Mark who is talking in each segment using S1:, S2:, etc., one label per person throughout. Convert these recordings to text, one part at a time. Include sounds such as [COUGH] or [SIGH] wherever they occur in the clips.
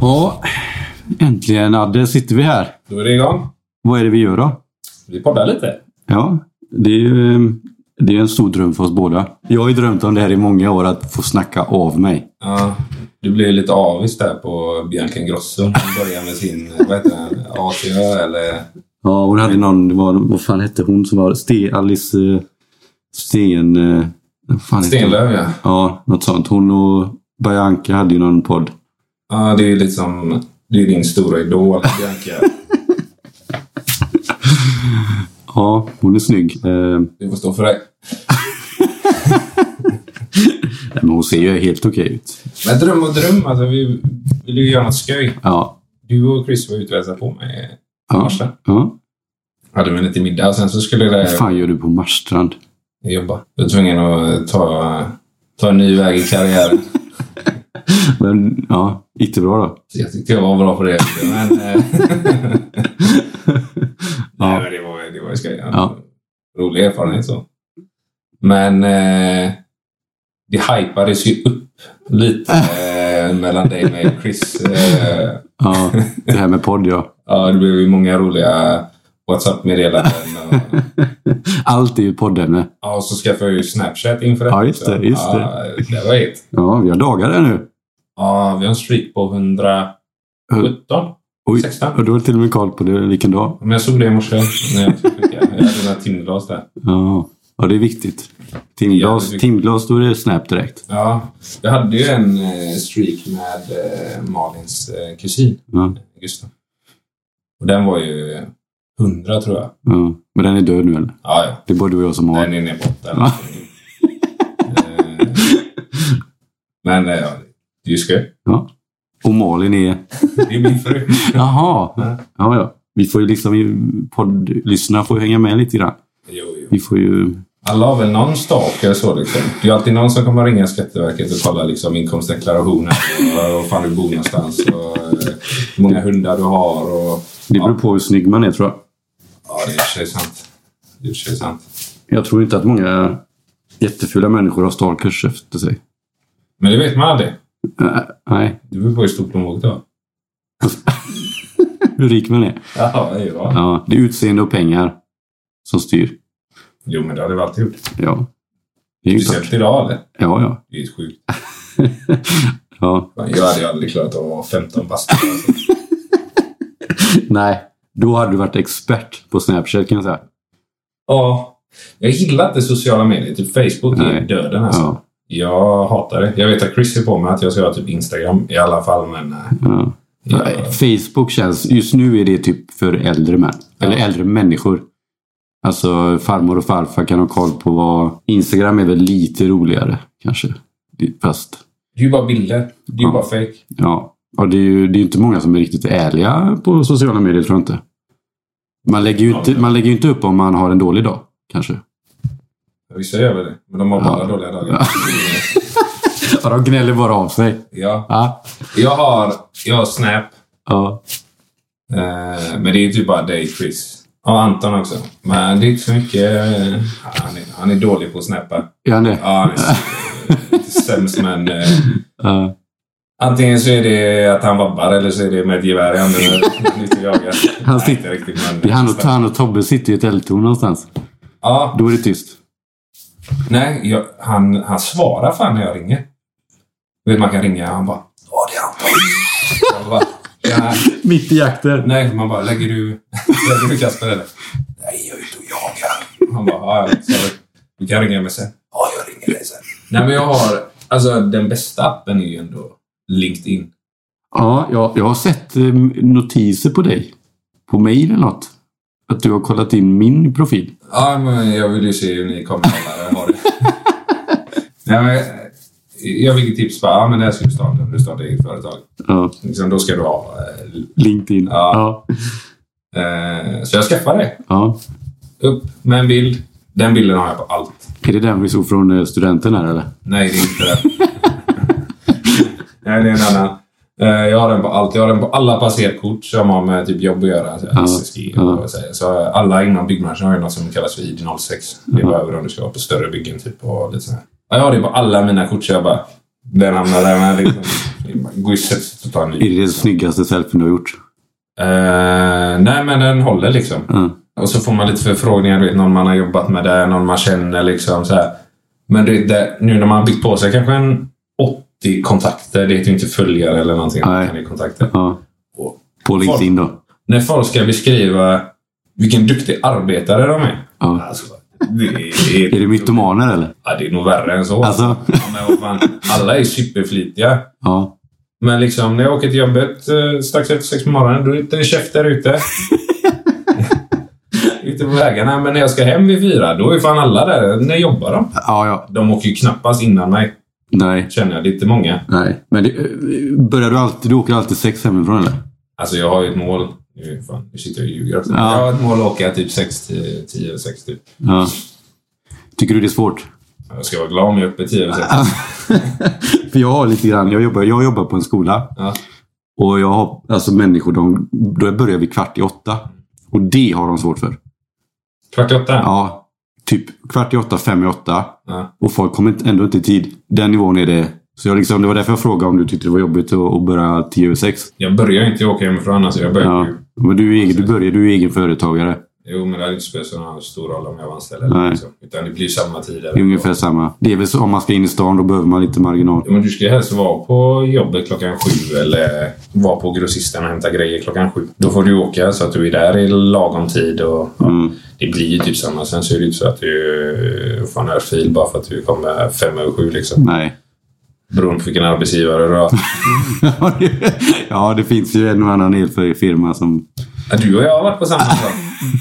S1: Ja, äntligen Adde sitter vi här.
S2: Då är det igång.
S1: Vad är det vi gör då?
S2: Vi poddar lite.
S1: Ja, det är ju eh, det är en stor dröm för oss båda. Jag har ju drömt om det här i många år, att få snacka av mig.
S2: Ja, du blev lite avis där på Bianca Ingrosso. Hon började med sin, vad heter den, ATÖ eller...
S1: Ja, hon hade någon, det var, vad fan hette hon som var, Ste, Alice eh, Sten... eh, vad fan hette hon?
S2: Stenlöv ja.
S1: Ja, något sånt. Hon och Bianca hade ju någon podd.
S2: Ja, det är ju lite som, det är ju din stora idol Bianca.
S1: Ja, hon är snygg. Eh,
S2: Du får stå för det.
S1: nej, men hon ser ju helt okej ut.
S2: Men dröm och dröm, alltså vi vill ju göra något skoj.
S1: Ja.
S2: Du och Chris var ute och hälsade på mig i
S1: Ja.
S2: morse.
S1: ja.
S2: Hade vi lite middag och sen så skulle
S1: Vad
S2: det
S1: fan gör du på Marstrand?
S2: jobba. Jag var tvungen att ta, ta en ny väg i karriären.
S1: Men, ja, inte bra då.
S2: Så jag tyckte jag var bra på det. Men, eh, [LAUGHS] Nej,
S1: Ja.
S2: men det var, det var ju skoj.
S1: Ja.
S2: Rolig erfarenhet så. Men eh, det hypades ju upp
S1: [LAUGHS]
S2: lite eh, mellan dig och mig och Chris. Eh,
S1: [LAUGHS] ja, det här med podd ja. [LAUGHS]
S2: ja, det blev ju många roliga WhatsApp-meddelanden. Och,
S1: Allt är ju poddämne.
S2: ja, och så skaffade jag ju Snapchat inför
S1: Ja, just det,
S2: också.
S1: just det.
S2: Ja, det var ett.
S1: Ja, vi har dagar där nu.
S2: Ja, vi har en streak på 117.
S1: Oj,
S2: 16.
S1: och du har till och med koll på det, vilken dag.
S2: Men jag såg det i morse när jag skulle skicka. Jag hade mina timglas där.
S1: Ja, ja det är viktigt. Timglas,
S2: Ja, det är-
S1: timglas då är det snap direkt.
S2: Ja, jag hade ju en eh, streak med eh, Malins eh, kusin,
S1: Ja,
S2: Gustav. Och den var ju eh, 100 tror jag.
S1: ja. Men den är död nu eller?
S2: Ja, ja.
S1: Det är bara du och jag som har.
S2: Den är nere borta. eller
S1: Ja.
S2: någonting. Eh, Men eh, ja, det är ju skoj.
S1: Ja. Och Malin
S2: [LAUGHS]
S1: är...
S2: Det är min fru.
S1: Jaha! Ja, ja. Vi får ju liksom... ju- Poddlyssnarna får ju hänga med lite grann.
S2: Jo, jo.
S1: Vi får ju...
S2: Alla har väl någon stalker så liksom. Det är alltid någon som kommer ringa Skatteverket och kolla liksom inkomstdeklarationen och var fan du bor någonstans och eh, hur många hundar du har och...
S1: Det beror på hur snygg man är tror jag.
S2: Ja, det är i och för sig sant. Det är i och för sig sant.
S1: Jag tror inte att många jättefula människor har stalkers efter sig.
S2: Men det vet man aldrig.
S1: Äh, Nej,
S2: Det beror på hur stor plånbok du har.
S1: hur rik man är.
S2: Ja, det är bra.
S1: Ja, det är utseende och pengar som styr.
S2: Jo, men det har du väl alltid gjort.
S1: Ja. Det är ju klart.
S2: Speciellt idag, eller?
S1: Ja, ja. [LAUGHS]
S2: Det är ju sjukt.
S1: ja.
S2: Fan, Jag hade ju aldrig klarat av att vara 15 bast. Alltså.
S1: Nej, då hade du varit expert på Snapchat kan jag säga.
S2: [LAUGHS] Ja. Jag gillar inte sociala medier. Typ Facebook är
S1: Nej.
S2: döden alltså.
S1: Ja,
S2: Jag hatar det. Jag vet att Chris är på mig att jag ska ha typ Instagram i alla fall, men... eh,
S1: ja.
S2: Jag,
S1: Facebook känns... Just nu är det typ för äldre män. Eller
S2: Ja.
S1: äldre människor. Alltså farmor och farfar kan ha koll på vad... Instagram är väl lite roligare kanske. Det- Fast
S2: det är ju bara bilder. Det är ju
S1: Ja.
S2: bara fake.
S1: Ja, och det är ju det är ju inte många som är riktigt ärliga på sociala medier tror jag inte. Man lägger ju inte, man lägger ju inte upp om man har en dålig dag, kanske.
S2: Vissa gör väl det, men de har bara
S1: Ja.
S2: dåliga dagar.
S1: Ja, de gnäller bara av sig.
S2: Ja.
S1: Ja,
S2: Jag har, jag har Snap.
S1: ja, Mm.
S2: Eh, men det är ju typ bara dig, Chris. Ja, Anton också. Men det är inte så mycket... eh, han, är, han är dålig på att snappa.
S1: gör han det?
S2: Ja, han är s- eh, sämst, men... eh,
S1: Ja.
S2: antingen så är det att han vabbar eller så är det med ett gevär i handen när han är ute och jagar.
S1: Han
S2: Nej,
S1: sitter-
S2: inte riktigt, men...
S1: Det är han, och, han och Tobbe sitter i ett eldtorn någonstans.
S2: Ja,
S1: Då är det tyst.
S2: nej. Jag, han, han svarar fan när jag ringer. Du vet, man kan ringa och han bara... Ja, det är Anton. Jag bara, "Ja."
S1: Mitt i jakten.
S2: Nej, man bara, lägger du, [LAUGHS] lägger du Kasper eller? Nej, jag är ute och jagar. Han bara, ja, ja, sorry. Du kan ringa mig sen. Ja, jag ringer dig sen. Nej, men jag har, alltså den bästa appen är ju ändå LinkedIn.
S1: Ja, jag, jag har sett eh, notiser på dig. På mail eller något. Att du har kollat in min profil.
S2: Ja, men jag vill ju se hur ni kommer alla har [LAUGHS] det. Nej, men eh, jag fick ett tips bara, ja men det här ska du starta om du startar eget företag.
S1: Ja,
S2: Liksom, då ska du ha. eh,
S1: LinkedIn.
S2: Ja.
S1: Ja. Ja.
S2: Eh, så jag skaffade det. Upp med en bild. Den bilden har jag på allt.
S1: Är det den vi såg från eh, studenten här eller?
S2: Nej, det är inte det. Nej, det är en annan. Eh, Jag har den på allt. Jag har den på alla passerkort som har med typ jobb att göra. Så,
S1: Ja,
S2: SSG och
S1: ja.
S2: vad jag säger. så eh, alla inom byggbranschen har ju något som kallas för ID06. Det är bara över om du ska vara
S1: [LAUGHS]
S2: på större byggen typ och lite så här. Ja, Jag har det på alla mina kort så jag bara... Den hamnar där med liksom. man går ju sättet att ta en ny.
S1: Är det det snyggaste selfien du har gjort?
S2: Eh, nej, men den håller liksom.
S1: Mm.
S2: Och så får man lite förfrågningar, du vet, någon man har jobbat med där, någon man känner liksom så här. Men du vet, det, nu när man har byggt på sig kanske en 80 kontakter, det heter ju inte följare eller någonting,
S1: Nej.
S2: utan det är kontakter.
S1: Ja. På LinkedIn då?
S2: När folk ska beskriva vilken duktig arbetare de är.
S1: Ja.
S2: Alltså, det
S1: [LAUGHS]
S2: är,
S1: Är det mytomaner eller?
S2: ja, det är nog värre än så.
S1: Alltså? [LAUGHS]
S2: Ja, men vad fan, alla är superflitiga.
S1: Ja.
S2: Men liksom, när jag åker till jobbet eh, strax efter sex på morgonen, då är det inte en käft
S1: [LAUGHS]
S2: där ute. ute på vägarna. Men när jag ska hem vid fyra, då är fan alla där. När jobbar de?
S1: Ja, ja.
S2: De åker ju knappast innan mig,
S1: Nej.
S2: känner jag. Det är inte många.
S1: Nej. Men det, börjar du alltid... Du åker alltid sex hemifrån eller?
S2: Alltså, jag har ju ett mål. Nu, fan, nu sitter jag och ljuger också.
S1: Ja.
S2: Jag har ett mål att åka typ sex till tio över sex typ.
S1: Ja. Tycker du det är svårt?
S2: Jag ska vara glad om jag är uppe tio över sex.
S1: För jag har lite grann... Jag jobbar, jag jobbar på en skola.
S2: Ja.
S1: Och jag har... Alltså människor, de... Då börjar vi kvart i åtta. Och det har de svårt för.
S2: Kvart i åtta?
S1: Ja. Typ kvart i åtta, fem i åtta.
S2: Ja.
S1: Och folk kommer inte- ändå inte i tid. Den nivån är det. Så jag liksom, det var därför jag frågade om du tyckte det var jobbigt att, att börja 10 över 6.
S2: Jag börjar ju inte åka hemifrån. Alltså, jag börjar
S1: Ja.
S2: ju-
S1: Men du, är egen, du börjar, du är egen företagare.
S2: Jo, men det hade inte spelat så stor roll om jag var anställd.
S1: Nej.
S2: eller Liksom. Utan det blir ju samma tid.
S1: Det är ungefär samma. Det är väl så om man ska in i stan, då behöver man lite marginal.
S2: Ja, men du ska ju helst vara på jobbet klockan sju eller vara på grossisten och hämta grejer klockan sju. Då får du åka så att du är där i lagom tid. Och, ja,
S1: Mm.
S2: Det blir ju typ samma. Sen så är det ju inte så att du eh, får en örfil bara för att du kommer fem över sju. Liksom.
S1: Nej. [LAUGHS]
S2: Beroende på vilken arbetsgivare du har.
S1: ja, det finns ju en och annan elfirma som...
S2: Ja, Du och jag har varit på
S1: [LAUGHS]
S2: samma sak.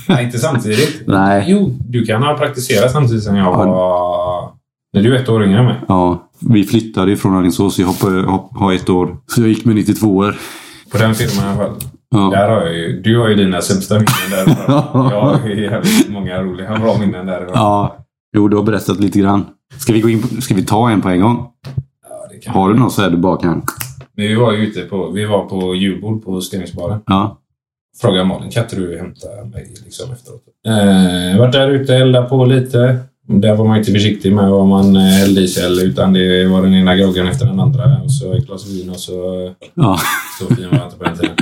S2: Nej, inte samtidigt.
S1: Nej.
S2: Jo, du kan ha praktiserat samtidigt som jag var... När du är ett år yngre än mig.
S1: Ja, vi flyttade ju från Alingsås. Jag hoppade, hopp, har ett år. Så jag gick med 92 år.
S2: På den filmen i alla fall.
S1: Ja.
S2: Där har jag ju, du har ju dina sämsta minnen
S1: [LAUGHS]
S2: därifrån. Jag har ju jävligt många roliga, bra minnen därifrån.
S1: ja. Jo, du har berättat lite grann. Ska vi, gå in på, ska vi ta en på en gång?
S2: Ja, det kan
S1: Har du någon så här du bara kan?
S2: Men vi var ju ute på, vi var på julbord på Steningsbaren.
S1: Ja.
S2: Frågade Malin, kan inte du hämta mig liksom efteråt? Eh, vart där ute, elda på lite. Där var man inte försiktig med vad man eh, hällde i sig eller, utan det var den ena groggen efter den andra. Och så ett glas vin och så... eh,
S1: Ja. [LAUGHS]
S2: Så fin var jag inte på den tiden.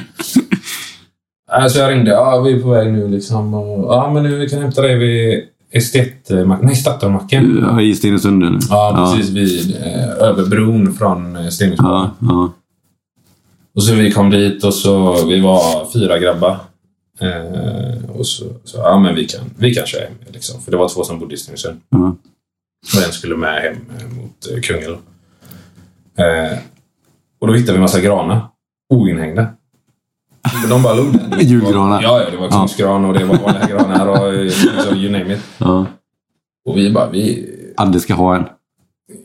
S2: Eh, Så jag ringde. Ja, vi är på väg nu liksom. Och, ja, men nu vi kan hämta dig vid Estetmacken. Nej, Statoilmacken.
S1: Ja, I Stenungsund eller?
S2: Ja, precis. Vid eh, överbron från eh, Steningsbaren.
S1: Ja, ja.
S2: Och så vi kom dit och så vi var fyra grabbar. Eh, och så, så ja men vi kan, vi kan köra hem. Liksom. För det var två som bodde i Stenungsund.
S1: Ja.
S2: Och en skulle med hem eh, mot eh, Kungälv. Eh, och då hittade vi en massa granar. Oinhängda. [LAUGHS] De bara låg där.
S1: Julgranar.
S2: Ja, ja. Det var
S1: Ja.
S2: kungsgran och det var vanliga granar och eh, liksom, you name it.
S1: ja.
S2: Och vi bara, vi...
S1: Adde ska ha en.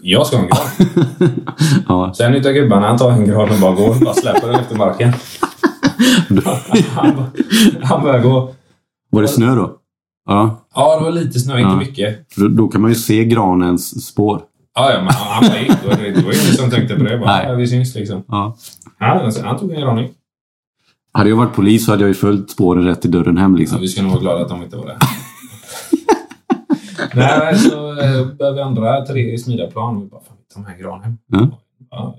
S2: Jag ska ha en gran.
S1: ja.
S2: Sen utav gubbarna, han tar en gran och bara går. Bara släpper den efter marken. Han, bara- han börjar gå.
S1: Var det snö då? Ja.
S2: Ja, det var lite snö, inte
S1: Ja.
S2: mycket.
S1: För Då, då kan man ju se granens spår.
S2: Ja, ja, men han, han bara gick. Det var det var ingen som tänkte på det. Bara,
S1: Nej.
S2: Nej. Vi syns liksom.
S1: Ja.
S2: Ja, alltså, han tog en raning.
S1: Hade jag varit polis så hade jag ju följt spåren rätt till dörren hem
S2: Så
S1: liksom.
S2: vi ska nog vara glada att de
S1: [LAUGHS]
S2: inte var där. Nej, men så eh, började vi andra tre smida plan. Vi bara, fan, ta med gran hem.
S1: Mm.
S2: Ja.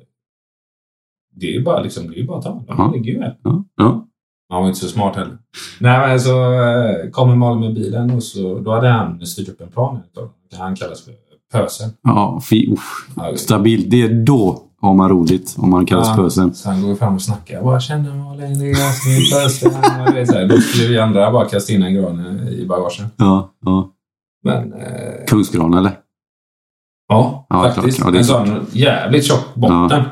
S2: Det är ju bara liksom, det är ju bara att ta. De
S1: Ja.
S2: ligger ju här.
S1: Ja. Ja.
S2: Han var inte så smart heller. Nej, men så eh, kommer Malin med bilen och så, då hade han styrt upp en plan. Då. Han kallas för Pösen.
S1: ja fy, uff.
S2: Ja,
S1: Stabilt. Det är då har man roligt. Om man kallas
S2: Ja.
S1: pösen.
S2: Så han går fram och snackar. Bara känner Malin, det är jag som är plötsligt. Då skulle vi andra bara kasta in en gran i bagagen.
S1: Ja. ja.
S2: Men eh,
S1: Kungsgran eller?
S2: ja,
S1: Ja,
S2: faktiskt.
S1: klart. Ja, det är
S2: en sån jävligt tjock botten.
S1: Ja,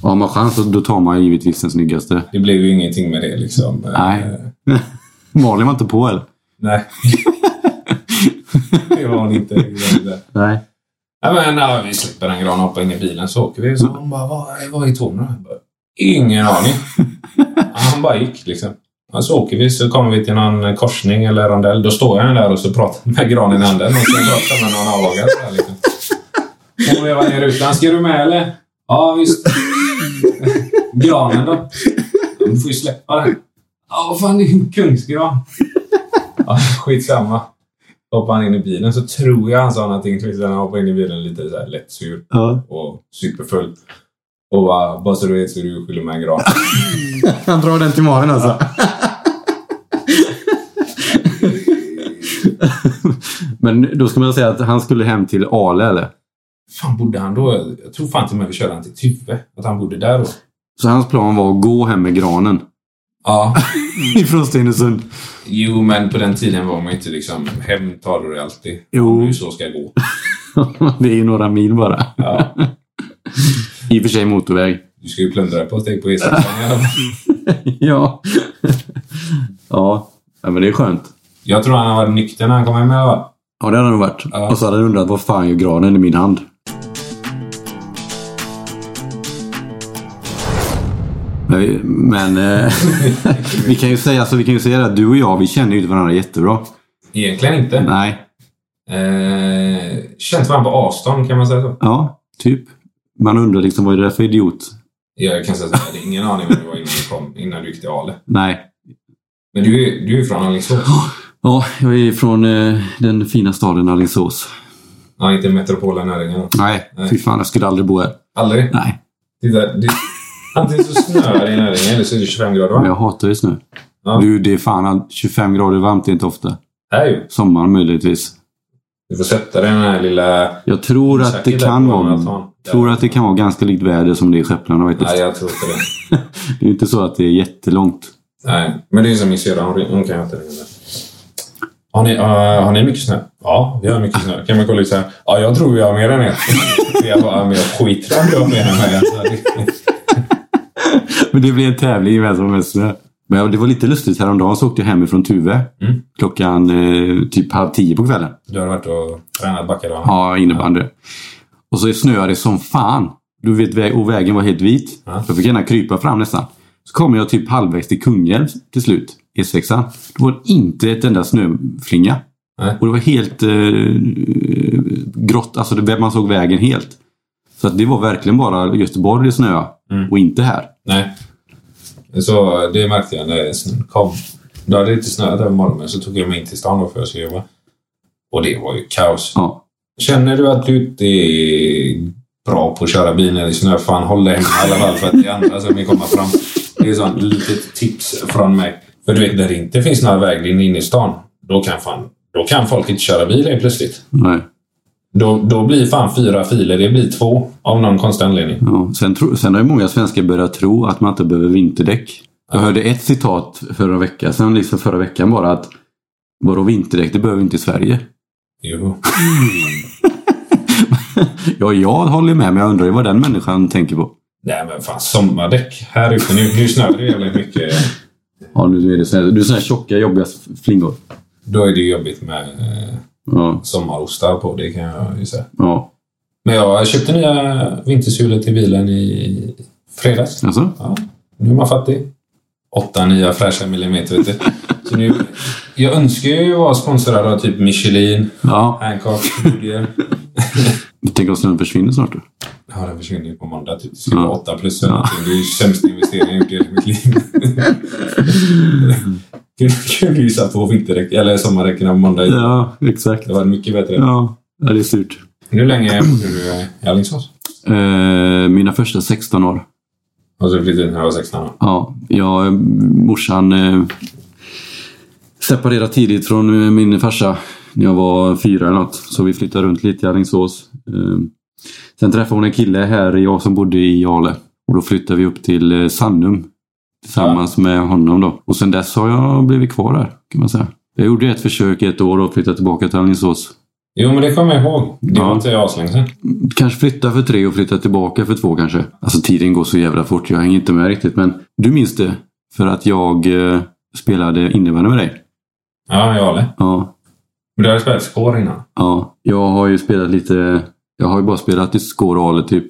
S1: Om man har chans så då tar man ju givetvis den snyggaste.
S2: Det blev ju ingenting med det liksom. Eh,
S1: Nej. Malin var inte på eller?
S2: nej. [LAUGHS] det var hon inte.
S1: Nej.
S2: Nej, men, ja, vi släpper en gran och hoppar in i bilen så åker vi. Så hon bara, vad, är- vad är tonen? Jag bara, Ingen aning. Han bara gick liksom. Ja, så åker vi, så kommer vi till någon korsning eller rondell. Då står jag där och så pratar med granen i handen. Och så pratar med någon avlagad så här liksom. Hon vevar ner rutan. Ska du med eller? Ja, visst. Granen då? Du får ju släppa den. Ja, vad fan, det är en kungsgran. Ja, skitsamma hoppade han in i bilen så tror jag han sa någonting till mig. Sen han hoppade in i bilen lite så här lätt sur
S1: Ja.
S2: och superfull. Och bara, bara så du vet så är du skyldig mig en gran.
S1: Han drar den till magen alltså. [LAUGHS] Men då ska man säga att han skulle hem till Ale eller?
S2: [LAUGHS] fan bodde han då? Jag tror fan till och med vi körde han till Tuve. Att han bodde där då.
S1: Så hans plan var att gå hem med granen.
S2: Ja. [LAUGHS]
S1: Ifrån Stenungsund.
S2: Jo, men på den tiden var man inte liksom... Hem tar du det alltid.
S1: Jo.
S2: Om du så ska gå.
S1: [LAUGHS] det är ju några mil bara.
S2: Ja.
S1: I och för sig motorväg. [LAUGHS]
S2: Du ska ju plundra ett par steg på E6. [LAUGHS]
S1: ja. ja. Ja, men det är skönt.
S2: Jag tror han var nykter när han kom hem i alla fall.
S1: Ja, det hade det nog varit.
S2: Ja.
S1: Och så hade jag undrat vad fan gör granen i min hand? Nej, Men eh, [LAUGHS] vi kan ju säga så vi kan ju säga att du och jag, vi känner ju inte varandra jättebra.
S2: Egentligen inte.
S1: Nej.
S2: Eh, känt varandra på avstånd, kan man säga så?
S1: Ja, typ. Man undrar liksom vad är det där för idiot?
S2: Jag kan säga så här, jag hade ingen aning om det var innan du kom. Innan du gick till Ale.
S1: Nej.
S2: Men du, är- du är från Alingsås.
S1: Ja, jag är från eh, den fina staden Alingsås.
S2: Ja, inte metropolen Näringen.
S1: Nej,
S2: Nej.
S1: fy fan jag skulle aldrig bo här.
S2: Aldrig.
S1: Nej,
S2: Titta, det, antingen så snöar det i Näringen eller så är det 25 grader
S1: men
S2: varmt.
S1: jag hatar ju snö.
S2: Ja.
S1: Du, det är fan 25 grader varmt, det är inte ofta.
S2: Här ju.
S1: Sommaren möjligtvis.
S2: Du får sätta dig i den här lilla...
S1: Jag tror att det
S2: Säkert
S1: kan
S2: där på
S1: vara...
S2: Manhattan.
S1: Tror att det kan vara ganska likt väder som det är i Skepplarna faktiskt.
S2: Nej, jag tror inte det.
S1: [LAUGHS] Det är inte så att det är jättelångt. [LAUGHS]
S2: Nej, men det är som min syrra. Hon, hon kan ju inte ringa. Har ni, uh, har ni mycket snö? Ja, vi har mycket snö. Kan man kolla ut så här? Ja, jag tror vi har mer än er. [LAUGHS] Jag bara, men jag skiter i om du har mer än mig. Alltså, det-
S1: Men det blir en tävling i vem som har mest snö. Men ja, det var lite lustigt. Häromdagen så åkte jag hemifrån Tuve.
S2: Mm.
S1: Klockan eh, typ halv tio på kvällen.
S2: [LAUGHS] du har varit och tränat backarna?
S1: Ja, innebandy. Och så snöade det som fan. Du vet, vä- och vägen var helt vit.
S2: Ja.
S1: Jag fick gärna krypa fram nästan. Så kom jag typ halvvägs till Kungälv till slut. E6an. Det var inte ett enda snöflinga.
S2: Nej.
S1: Och det var helt eh, grått. Alltså det, man såg vägen helt. Så att det var verkligen bara Göteborg det snöade.
S2: Mm.
S1: Och inte här.
S2: Nej. Så det märkte jag när snön kom. Då hade det inte snöat över morgonen, så tog jag mig in till stan då för att jag skulle jobba. Och det var ju kaos.
S1: Ja.
S2: Känner du att du inte är bra på att köra bil när det är snö, fan håll dig hemma i alla fall för att det är andra som vill komma fram. Det är sånt litet tips från mig. För du vet, när det inte finns några väglinjer inne i stan, då kan, fan, då kan folk inte köra bil helt plötsligt.
S1: Nej.
S2: Då, då blir fan fyra filer, det blir två av någon konstig anledning.
S1: Ja. Sen, tro, sen har ju många svenskar börjat tro att man inte behöver vinterdäck. Jag hörde ett citat förra veckan, sen liksom förra veckan bara att Vadå vinterdäck? Det behöver vi inte i Sverige.
S2: Jo.
S1: Ja, jag håller med, men jag undrar ju vad den människan tänker på.
S2: Nej men fan, sommardäck här ute. Nu, nu snöar det jävligt mycket.
S1: Ja, nu är det sådana här, du är sån här tjocka, jobbiga flingor.
S2: Då är det ju jobbigt med eh,
S1: Ja, sommarostar
S2: sommarostar på, det kan jag ju säga.
S1: ja.
S2: Men jag köpte nya vintersulor till bilen i fredags.
S1: Alltså?
S2: Ja, nu är man fattig. Åtta nya fräscha millimeter, vet du. Så nu, jag önskar ju vara sponsrad av typ Michelin,
S1: Ja,
S2: Hancock, Goodyear.
S1: tänk om snön försvinner snart då.
S2: Ja, den försvinner ju på måndag. Typ. Det ska vara
S1: Ja.
S2: åtta plus eller någonting. Det är ju sämsta investeringen jag gjort i hela mitt liv.
S1: [LAUGHS]
S2: Kunde- Kunde ju satt på vinterdäck, eller sommardäcken på måndag.
S1: Ja, exakt.
S2: Det var mycket bättre.
S1: Ja, ja det är surt.
S2: Hur länge bodde du i Alingsås?
S1: Eh, mina första 16 år.
S2: Och så flyttade du när jag var 16 år.
S1: Ja, jag, eh, morsan eh, separerade tidigt från eh, min farsa när jag var fyra eller något. Så vi flyttade runt lite i Alingsås. Eh, sen träffade hon en kille här, jag som bodde i Jale. Och då flyttade vi upp till eh, Sannum tillsammans med honom då. Och sen dess har jag blivit kvar där kan man säga. Jag gjorde ett försök ett år och flyttade tillbaka till Alingsås.
S2: Jo, men det kommer jag ihåg. Det var
S1: Ja.
S2: inte aslänge sen.
S1: Kanske flytta för tre och flytta tillbaka för två kanske. Alltså tiden går så jävla fort, jag hänger inte med riktigt. Men du minns det? För att jag eh, spelade innebandy med dig.
S2: Ja, jag håller.
S1: Ja,
S2: Men du hade spelat skår innan.
S1: ja. Jag har ju spelat lite... Jag har ju bara spelat i score och ale, typ.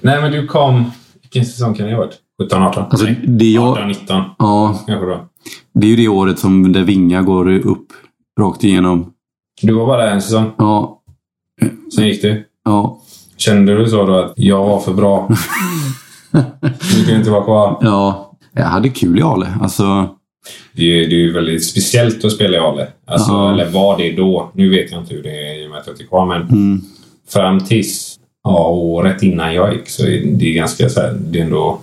S2: Nej, men du kom... Vilken säsong kan det ha varit? 17, 18?
S1: Alltså,
S2: Nej,
S1: det, jag,
S2: 18, 19
S1: ja,
S2: kanske då.
S1: det är ju det året som där Vinga går upp rakt igenom.
S2: Du var bara där en säsong.
S1: Ja,
S2: Sen gick du.
S1: ja, [LAUGHS]
S2: Kände du så då att jag var för bra? du kunde inte vara kvar.
S1: ja. Jag hade kul i Ale. Alltså,
S2: Det är, ju- det är ju väldigt speciellt att spela i Ale. Alltså,
S1: Ja.
S2: Eller var det då. Nu vet jag inte hur det är i och med att jag inte är kvar, men
S1: mm,
S2: fram tills ja, året innan jag gick så är det ganska så här, det är ändå...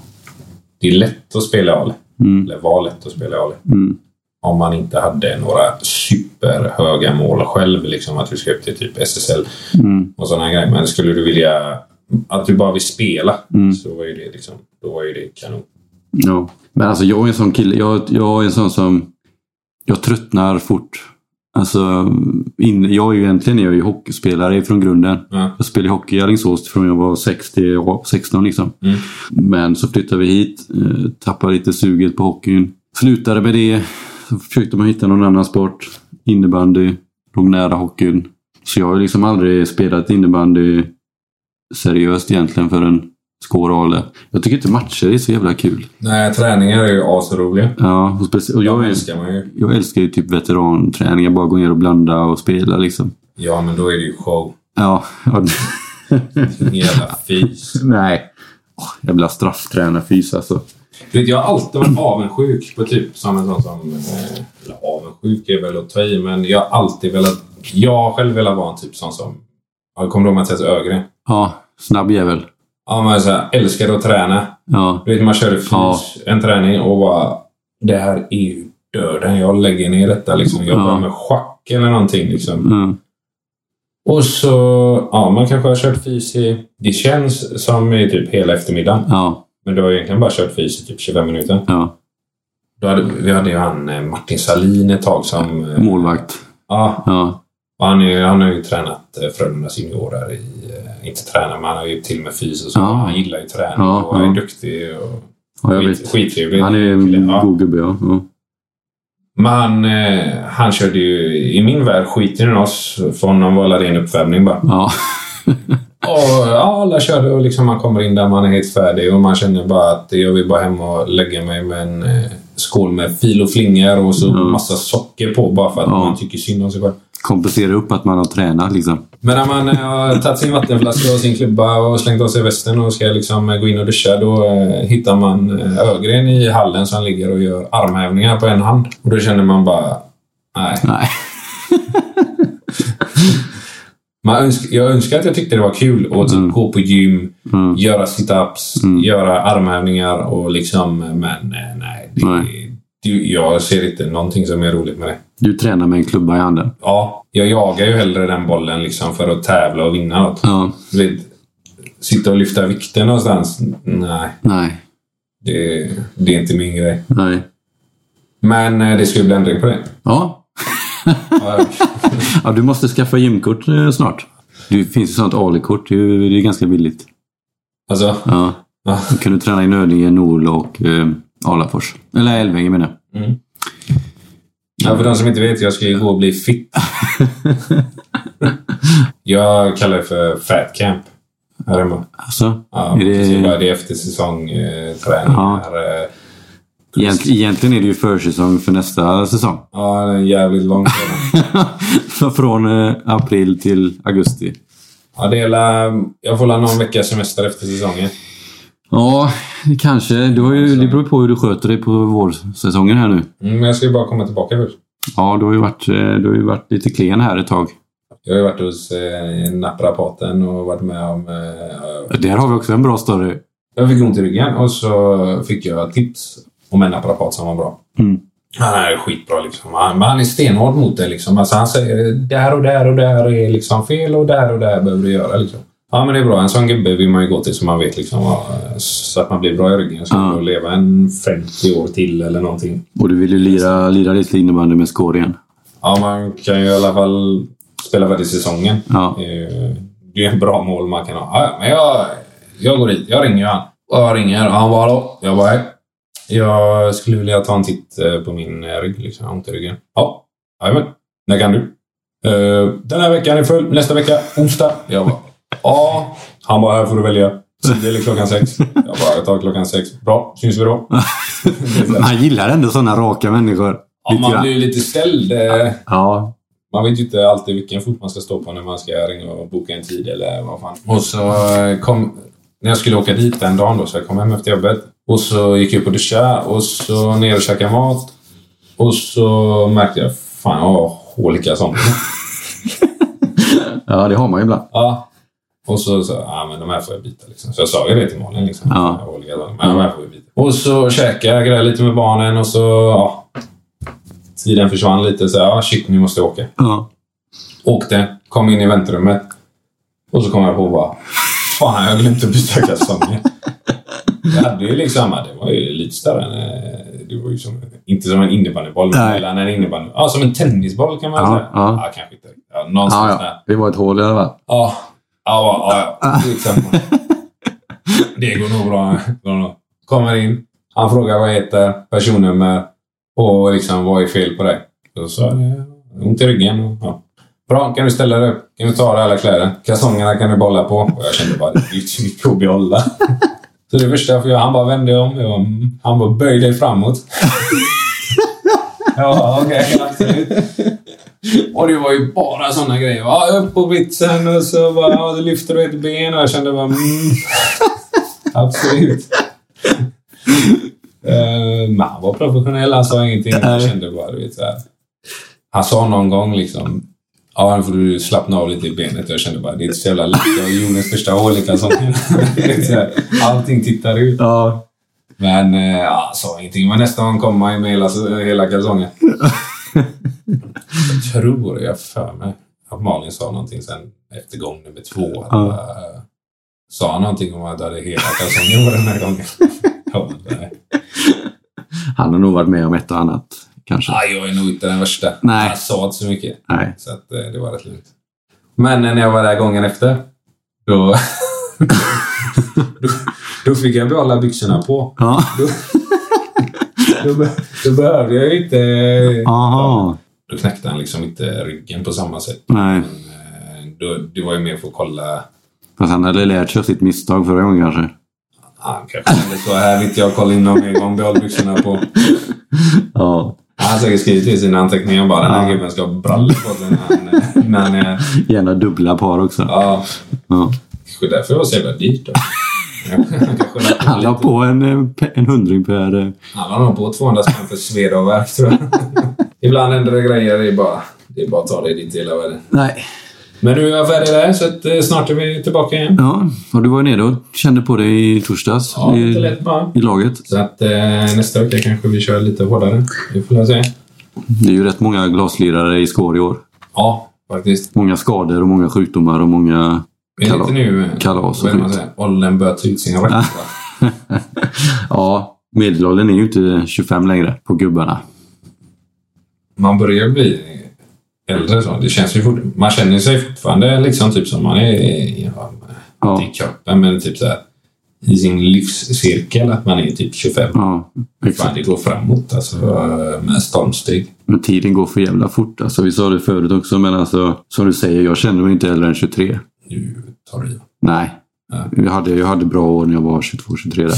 S2: Det är lätt att spela i Ale.
S1: Mm.
S2: Eller var lätt att spela i Ale.
S1: Mm.
S2: Om man inte hade några superhöga mål själv, liksom att du ska upp till typ SSL
S1: Mm.
S2: och sådana grejer. Men skulle du vilja att du bara vill spela
S1: Mm.
S2: så var ju det liksom, då var ju det kanon.
S1: Ja. Men alltså jag är en sån kille. Jag, jag är en sån som... Jag tröttnar fort. Alltså, in, jag är ju egentligen jag är ju hockeyspelare från grunden.
S2: Ja.
S1: Jag spelade hockey i Alingsås från jag var 6 till jag var 16 liksom.
S2: Mm.
S1: Men så flyttade vi hit, eh, tappade lite suget på hockeyn. Slutade med det. Så försökte man hitta någon annan sport. Innebandy. Låg nära hockeyn. Så jag har ju liksom aldrig spelat innebandy seriöst egentligen förrän Skårale. E. Jag tycker inte matcher är så jävla kul.
S2: Nej, träningar är ju asroliga.
S1: Ja, och, speci- och jag,
S2: Jag
S1: är,
S2: älskar man ju.
S1: jag älskar ju typ veteranträningar. Bara gå ner och blanda och spela liksom.
S2: Ja, men då är det ju show.
S1: Ja, ja. [LAUGHS]
S2: Jävla fys.
S1: Nej. Åh, jävla strafftränarfys alltså.
S2: Du vet, jag har alltid varit avundsjuk på typ som en sån som... eh, Eller avundsjuk är väl att ta i, men jag har alltid velat... Jag har själv velat vara en typ sån som... Jag kommer du ihåg Mattias Ögren?
S1: Ja, snabb jävel.
S2: Ja, men så här, älskade att träna.
S1: Ja,
S2: Du vet, man körde fys,
S1: Ja.
S2: en träning och bara... Det här är ju döden. Jag lägger ner detta liksom. Jag
S1: Ja.
S2: börjar med schack eller någonting liksom.
S1: mm,
S2: Och så... Ja, man kanske har kört fys i... Det känns som i typ hela eftermiddagen.
S1: ja,
S2: Men du har egentligen bara kört fys i typ 25 minuter.
S1: ja.
S2: Då hade, vi hade ju han eh, Martin Salin ett tag som... eh,
S1: Målvakt.
S2: Ja,
S1: Ja,
S2: och han, är, ju- han har ju tränat eh, Frölundas juniorer i... eh, Inte tränar, men han har ju till och med fys och så.
S1: Ja.
S2: Han gillar ju träning
S1: Ja,
S2: och han är
S1: ja.
S2: duktig och
S1: ja jag
S2: skit-
S1: vet.
S2: skittrevlig.
S1: Han är
S2: kille,
S1: en
S2: ja.
S1: god gubbe, ja. ja.
S2: Men han, eh, han körde ju... I min värld skiter den oss, för honom var alla ren uppvärmning bara.
S1: Ja, [LAUGHS]
S2: Och ja, alla körde och liksom man kommer in där man är helt färdig och man känner bara att jag vill bara hem och lägga mig med en eh, skål med fil och flingor och så
S1: Ja.
S2: massa socker på bara för att
S1: Ja.
S2: man tycker synd om sig själv.
S1: kompensera upp att man har tränat liksom.
S2: Men när man eh, har tagit sin vattenflaska och sin klubba och slängt av sig västen och ska liksom eh, gå in och duscha, då eh, hittar man eh, Ögren i hallen som ligger och gör armhävningar på en hand. Och då känner man bara, nej.
S1: Nej.
S2: Man önsk, jag önskar att jag tyckte det var kul att typ gå på gym,
S1: Mm.
S2: göra situps, göra armhävningar och liksom, men eh, nej. Det,
S1: Nej.
S2: Du, jag ser inte någonting som är roligt med det.
S1: Du tränar med en klubba i handen.
S2: Ja, jag jagar ju hellre den bollen liksom för att tävla och vinna något.
S1: Ja,
S2: Du vet, sitta och lyfta vikter någonstans? Nej,
S1: nej,
S2: det, det är inte min grej.
S1: nej.
S2: Men eh, det ska ju bli ändring
S1: [LAUGHS]
S2: på det.
S1: Ja,
S2: Ja,
S1: ja du måste skaffa gymkort eh, snart. Det finns ju sånt Ali-kort. Det är ju- det är ganska billigt.
S2: Alltså,
S1: Ja.
S2: Ja.
S1: Då kan du träna i Nödinge, Nol och eh, Alafors. Eller Älvänge menar jag.
S2: ja, för de som inte vet, jag ska ju gå och
S1: [LAUGHS]
S2: bli fit. Jag kallar det för fat camp här hemma.
S1: Alltså,
S2: Ja,
S1: Är det-
S2: precis, bara det är efter eh, säsongträningar. Ja.
S1: egent, egentligen är det ju försäsong för nästa säsong. [LAUGHS]
S2: ja, det är en jävligt lång tid.
S1: Så Från eh, april till augusti.
S2: Ja, det är la, jag får la någon vecka semester efter säsongen.
S1: Ja, kanske. Du har ju, det beror på hur du sköter dig på vårsäsongen här nu.
S2: Mm, Men jag ska ju bara komma tillbaka först.
S1: Ja, du har ju varit, eh, du har ju varit lite klen här ett tag.
S2: Jag har ju varit hos eh, naprapaten och varit med om... Eh,
S1: Där har vi också en bra story.
S2: jag fick ont i ryggen och så fick jag tips om en naprapat som var bra.
S1: Mm.
S2: Han är skitbra liksom. Han, men han är stenhård mot det liksom. Alltså, han säger där och där och där är liksom fel och där och där behöver du göra liksom. Ja men det är bra. En sån gubbe vill man ju gå till så man vet liksom vad- så att man blir bra i ryggen. Så
S1: Ja.
S2: man får leva en 50 år till eller någonting.
S1: Och du vill ju lira, lira lite innebandy med Skåre igen.
S2: Ja, man kan ju i alla fall spela färdigt säsongen.
S1: Ja.
S2: Det är ju- det är ju en bra mål man kan ha. Ja, men jag, jag går dit. Jag ringer han. Och jag ringer och han bara hallå. Jag bara hej. Jag skulle vilja ta en titt eh, på min eh, rygg. Liksom. Jag har ont i ryggen. Ja, jajamän. När kan du? "Eh, Den här veckan är full. Nästa vecka, onsdag. Jag bara ja. Han bara här får du välja. Det är klockan sex. Jag bara jag tar klockan sex. Bra, syns vi då.
S1: [LAUGHS] Man gillar ändå sådana raka människor.
S2: Ja,
S1: Lite
S2: man
S1: grann.
S2: blir ju lite ställd. eh,
S1: [LAUGHS] Ja.
S2: man vet ju inte alltid vilken fot man ska stå på när man ska ringa och boka en tid eller vad fan. Och så eh, kom... När jag skulle åka dit den dagen då, så jag kom hem efter jobbet. Och så gick jag upp och duschade och så ner och käkade mat. Och så märkte jag, [LAUGHS] fan jag har hål i kalsongerna.
S1: ja, det har man ju ibland.
S2: Ja. Och så sa jag, ah, men de här får jag byta. Liksom. Så jag sa ju det till Malin. Liksom,
S1: Ja.
S2: de här olika sakerna, men de här får vi byta. Och så käkade jag, grejade lite med barnen och så... Ja, tiden försvann lite. Så ja, shit, nu måste jag åka.
S1: Ja.
S2: Åkte, kom in i väntrummet. Och så kom jag på bara, fan jag har glömt att byta
S1: [LAUGHS]
S2: kalsonger. jag hade ju liksom, ja, det var ju lite större än, eh, det var ju som, inte som en innebandyboll, men
S1: Nej.
S2: eller en innebandy, ja som en tennisboll kan man
S1: Ja,
S2: säga.
S1: ja.
S2: kanske inte. Ja, någonstans
S1: Ja,
S2: där.
S1: ja. Det var ett hål i alla [LAUGHS] fall.
S2: Ja, ja, ja, ja. Liksom.
S1: Ah.
S2: Till exempel. Det går nog bra. Det går nog. Kommer in. Han frågar vad jag heter, personnummer och liksom vad är fel på dig? Då sa jag "Eh, ont i ryggen. och, Ja. Bra, kan du ställa dig upp? Kan du ta av dig alla kläder? Kalsongerna kan du bolla på. Och jag kände bara, det är ju så mycket att behålla. [LAUGHS] Så det första jag får göra, han bara vände om. Jag bara, "Mm." han bara, böj dig framåt. ja, okej, absolut. Och det var ju bara såna grejer. Ja, upp på vitsen och så bara, ja, då lyfter du ett ben och jag kände bara, mm. Absolut. Eh, Men han var professionell, han sa ingenting. Jag kände bara, du vet såhär. Han sa någon gång liksom, ja nu får du slappna av lite i benet. Jag kände bara, det är inte så jävla lätt. Jag är Jonas första hål i kalsongerna. [LAUGHS] Du vet, så här, Allting tittar ut.
S1: Ja.
S2: Men eh, ja, sa ingenting. Men nästa gång kommer han ju med hela, hela kalsongen. jag tror, jag har för mig, att Malin sa någonting sen efter gång nummer två. Att,
S1: Ja.
S2: eh, sa han någonting om att jag hade hela kalsongen på den här
S1: [LAUGHS]
S2: gången? Jag bara, nej.
S1: Han har nog varit med om ett och annat. Kanske.
S2: Ah, jag är nog inte den värsta.
S1: Nej.
S2: Jag sa inte så mycket.
S1: Nej.
S2: Så att, eh, det var rätt lugnt. Men eh, när jag var där gången efter, då, [LAUGHS] då, då fick jag behålla byxorna på.
S1: Ja.
S2: Då, be- då behövde jag ju inte... eh,
S1: Aha.
S2: Då knäckte han liksom inte ryggen på samma sätt.
S1: Nej.
S2: Men, eh, då, det var ju mer för att kolla.
S1: Fast han hade lärt sig av sitt misstag förra gången kanske.
S2: Ah, Han kanske kände så här vill inte jag kolla in någon mer gång. Behåll byxorna på.
S1: [LAUGHS]
S2: Ah,
S1: Ja.
S2: Han har säkert skrivit i sina anteckningar bara den här gubben ska ha brallor på sig när han- när han är...
S1: Gärna dubbla par också.
S2: Ja,
S1: Ja.
S2: kanske därför det var så jävla dyrt då. Ja, kanske lagt på
S1: Han la
S2: lite.
S1: på en, eh, pe- en hundring per... eh,
S2: Han har nog på 200 spänn för sveda och värk tror jag. Ibland händer det grejer. Det är bara, det är bara att ta det i ditt hela världen.
S1: Nej.
S2: Men nu är jag färdig där så att, eh, snart är vi tillbaka igen.
S1: Ja, och du var ju nere och kände på det i torsdags.
S2: Ja,
S1: i,
S2: inte lätt bara.
S1: I laget.
S2: Så att eh, nästa vecka kanske vi kör lite hårdare. Vi får väl se.
S1: Det är ju rätt många glaslirare i skår i år.
S2: Ja, faktiskt.
S1: Många skador och många sjukdomar och många...
S2: Det är
S1: Kalas.
S2: lite nu... eh,
S1: Kalas och
S2: vad är det man
S1: skit.
S2: säger? Åldern börjar ta ut sin rätt. va?
S1: [LAUGHS] ja, medelåldern är ju inte 25 längre på gubbarna.
S2: Man börjar bli äldre. Så. Det känns ju fort, man känner sig fortfarande liksom typ som man är i- ja,
S1: Ja.
S2: i kroppen, men typ så här, i sin livscirkel att man är typ 25.
S1: Ja,
S2: Fan,
S1: exakt.
S2: det går framåt alltså eh, med stormsteg.
S1: Men tiden går för jävla fort. Alltså, vi sa det förut också, men alltså, som du säger, jag känner mig inte äldre än 23.
S2: Nu tar du i.
S1: Nej.
S2: Ja.
S1: Jag hade, jag hade bra år när jag var 22-23 där.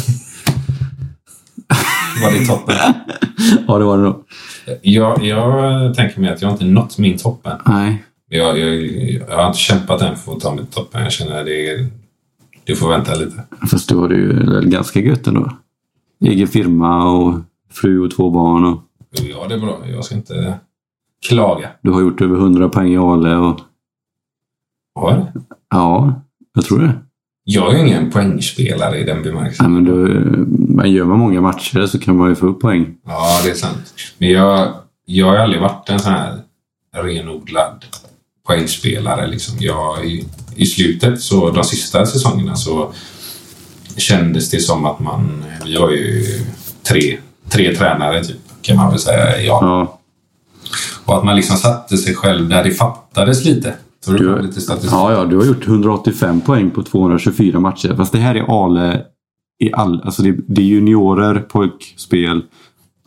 S2: Var det toppen?
S1: [LAUGHS] ja, det var det nog.
S2: Jag, jag tänker mig att jag inte nått min toppen.
S1: Nej.
S2: Jag, jag, jag har inte kämpat än för att ta mig till toppen. Jag känner att det, är- det får vänta lite.
S1: Fast då var det ju ganska gött ändå. Egen firma och fru och två barn. Och
S2: Ja, det är bra. Jag ska inte klaga.
S1: du har gjort över 100 poäng i Ale och...
S2: Har jag det?
S1: Ja, jag tror det.
S2: Jag är ju ingen poängspelare i den bemärkelsen.
S1: Nej, men då, man gör man många matcher så kan man ju få upp poäng.
S2: Ja, det är sant. Men jag, jag har aldrig varit en sån här renodlad poängspelare. Liksom. Jag, i, I slutet, så de sista säsongerna, så kändes det som att man... Vi har ju tre, tre tränare, typ, kan man väl säga, i
S1: Ja,
S2: Och att man liksom satte sig själv där det fattades lite. Tar du
S1: Du-
S2: fram lite statistik?
S1: ja, ja du har gjort 185 poäng på 224 matcher. Fast det här är Ale i all... Alltså det, det är juniorer, pojkspel,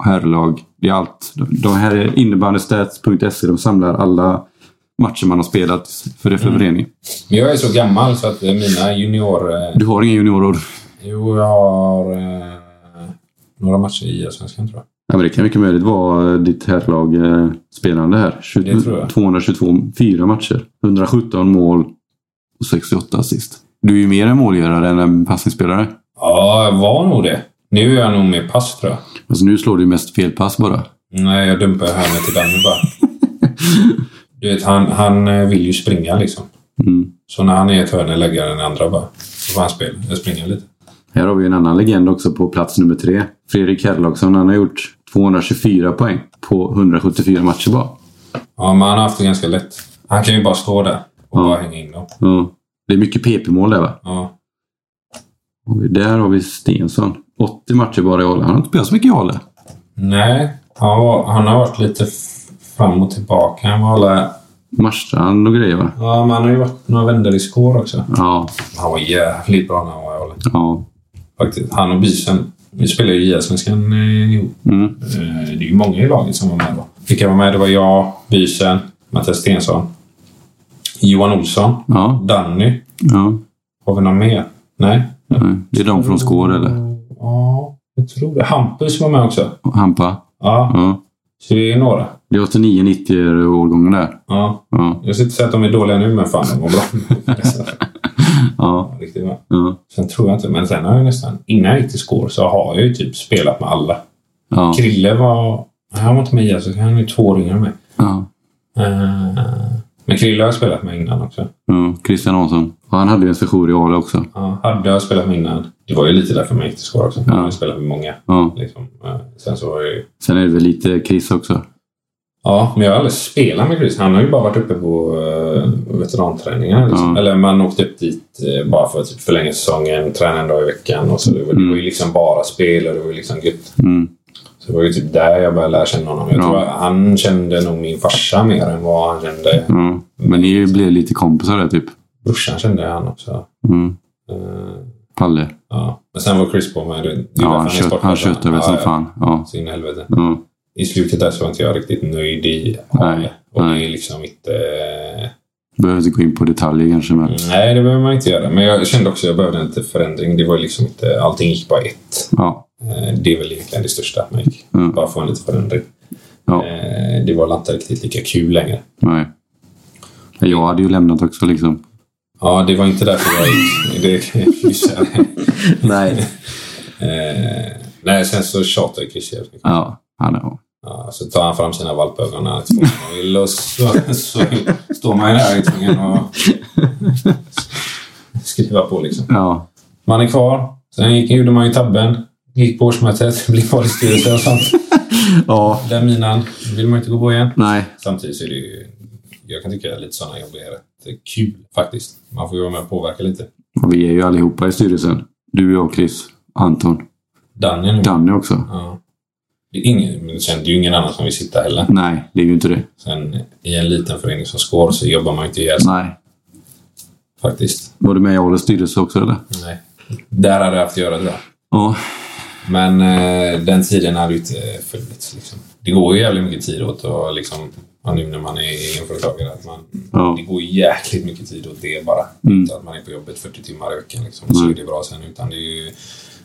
S1: herrlag. Det är allt. De här är innebandystats.se. E, De samlar alla matcher man har spelat för det för förening.
S2: Men jag är så gammal så att eh, mina junior... eh,
S1: Du har inga juniorer?
S2: Jo, jag har eh, några matcher i Allsvenskan tror jag.
S1: Ja, men det kan mycket möjligt vara ditt herrlag eh, spelande här. 20,
S2: Det tror jag.
S1: 222, fyra matcher. 117 mål och 68 assist. Du är ju mer en målgörare än en passningsspelare.
S2: Ja, jag var nog det. Nu är jag nog med pass tror jag.
S1: Alltså nu slår du ju mest felpass bara.
S2: Nej, jag
S1: [LAUGHS]
S2: dumpar hörnet till Danne bara. Du vet, han, han eh, vill ju springa liksom.
S1: Mm.
S2: Så när han är i ett hörn lägger jag den i andra bara. Så får han spela. Jag springer lite.
S1: Här har vi en annan legend också på plats nummer tre. Fredrik Herlogsson, han har gjort 224 poäng på 174 matcher bara.
S2: Ja, men han har haft det ganska lätt. Han kan ju bara stå där och
S1: Ja.
S2: bara hänga in dem.
S1: Ja. Det är mycket PP-mål där va?
S2: Ja.
S1: Och där har vi Stensson. 80 matcher bara i Ale. Han har inte spelat så mycket i Ale.
S2: Nej, han, var, han har varit lite f- fram och tillbaka. Han var alla...
S1: Marstrand och grejer va?
S2: Ja, men han har ju varit några vändor i skår också.
S1: Ja.
S2: Han var jävligt bra när han var i Åle.
S1: Ja.
S2: Faktiskt. Han och Bysen. Vi spelade ju i Allsvenskan eh, ihop.
S1: Mm.
S2: Eh, Det är ju många i laget som var med då. Vilka var med? Det var jag, Bysen, Mattias Stensson, Johan Olsson,
S1: Ja.
S2: Danny.
S1: ja.
S2: Har vi någon mer? Nej?
S1: Nej, Det är de från Skår eller?
S2: Ja, jag tror det. Hampus var med också.
S1: Hampa?
S2: Ja,
S1: Ja.
S2: så det är några.
S1: Det är 89-90 årgången där.
S2: Ja.
S1: Ja.
S2: Jag ska inte säga att de är dåliga nu, men fan de var bra.
S1: [LAUGHS]
S2: [LAUGHS]
S1: Ja.
S2: Ja, Riktigt bra.
S1: Ja.
S2: Sen tror jag inte, men sen har jag nästan, innan jag gick till skor så har jag ju typ spelat med alla.
S1: Ja.
S2: Krille var, nej, han var inte med i så han är två år yngre än mig.
S1: ja.
S2: Eh, Men Krille har jag spelat med innan också.
S1: ja. Christian Hansson. Ja, han hade ju en session i Ale också.
S2: Ja, hade jag spelat med innan. Det var ju lite därför man gick till skor också. Man har
S1: Ja.
S2: ju spelat med många.
S1: Ja.
S2: Liksom. Eh, Sen så var jag ju...
S1: Sen är det väl lite Chris också.
S2: Ja, men jag har aldrig spelat med Chris. Han har ju bara varit uppe på uh, veteranträningarna. Liksom.
S1: Ja.
S2: Eller man åkte upp dit eh, bara för att typ, förlänga säsongen, träna en dag i veckan. Och så det, var, det var ju liksom bara spel och det var ju liksom gött.
S1: Mm.
S2: Så det var ju typ där jag började lära känna honom. Jag
S1: Ja.
S2: tror att han kände nog min farsa mer än vad han kände.
S1: Ja. Men ni blev lite kompisar där typ.
S2: Brorsan kände han också.
S1: Mm.
S2: Eh,
S1: Palle.
S2: ja. Men sen var Chris på mig. Det, det är därför
S1: Ja,
S2: är
S1: han, kött,
S2: sportchef.
S1: han köttade väl
S2: Ja,
S1: som
S2: ja.
S1: fan. Ja.
S2: Så in i helvete.
S1: Ja.
S2: I slutet där så var inte jag riktigt nöjd i
S1: Nej,
S2: Och det
S1: nej.
S2: är liksom inte...
S1: Behöver inte gå in på detaljer kanske men.
S2: Nej, det behöver man inte göra. Men jag kände också att jag behövde inte förändring. Det var liksom inte... Allting gick bara ett.
S1: Ja.
S2: Eh, Det är väl egentligen det största att man gick.
S1: Mm.
S2: Bara få en liten förändring.
S1: Ja.
S2: Eh, Det var inte riktigt lika kul längre.
S1: Nej. Men Jag hade ju lämnat också liksom.
S2: Ja, det var inte därför jag gick. Det kan jag ju säga.
S1: Nej.
S2: Eh, Nej, sen så tjatade Chris jävligt mycket.
S1: Ja, han är...
S2: Ja, så tar han fram sina valpögon när han inte får vad han vill och så, så står man ju där och är tvungen att skriva på liksom.
S1: Ja.
S2: Man är kvar. Sen gick, gjorde man ju tabben. Gick på årsmötet, blev kvar i styrelsen och sånt.
S1: Ja.
S2: Den minan vill man inte gå på igen.
S1: Nej.
S2: Samtidigt så är det ju... Jag kan tycka att lite sådana jobb är rätt kul faktiskt. Man får ju vara med och påverka lite.
S1: Och vi är ju allihopa i styrelsen. Du, jag, Chris, Anton.
S2: Danny nu.
S1: Danny också.
S2: Ja. Det är ingen, men sen, det är ju ingen annan som vill sitta heller.
S1: Nej, det är ju inte det.
S2: Sen i en liten förening som Skår så jobbar man ju inte ihjäl sig
S1: Nej.
S2: faktiskt.
S1: Var du med i Åles styrelse också eller?
S2: Nej. Där hade jag haft att göra tror jag.
S1: Ja.
S2: Men eh, den tiden hade ju inte funnits. Liksom. Det går ju jävligt mycket tid åt och liksom, ja, nu när man är egenföretagare. Att man,
S1: Ja.
S2: Det går jäkligt mycket tid åt det bara.
S1: Mm.
S2: Inte att man är på jobbet 40 timmar i veckan liksom, så är det bra sen. Utan det är ju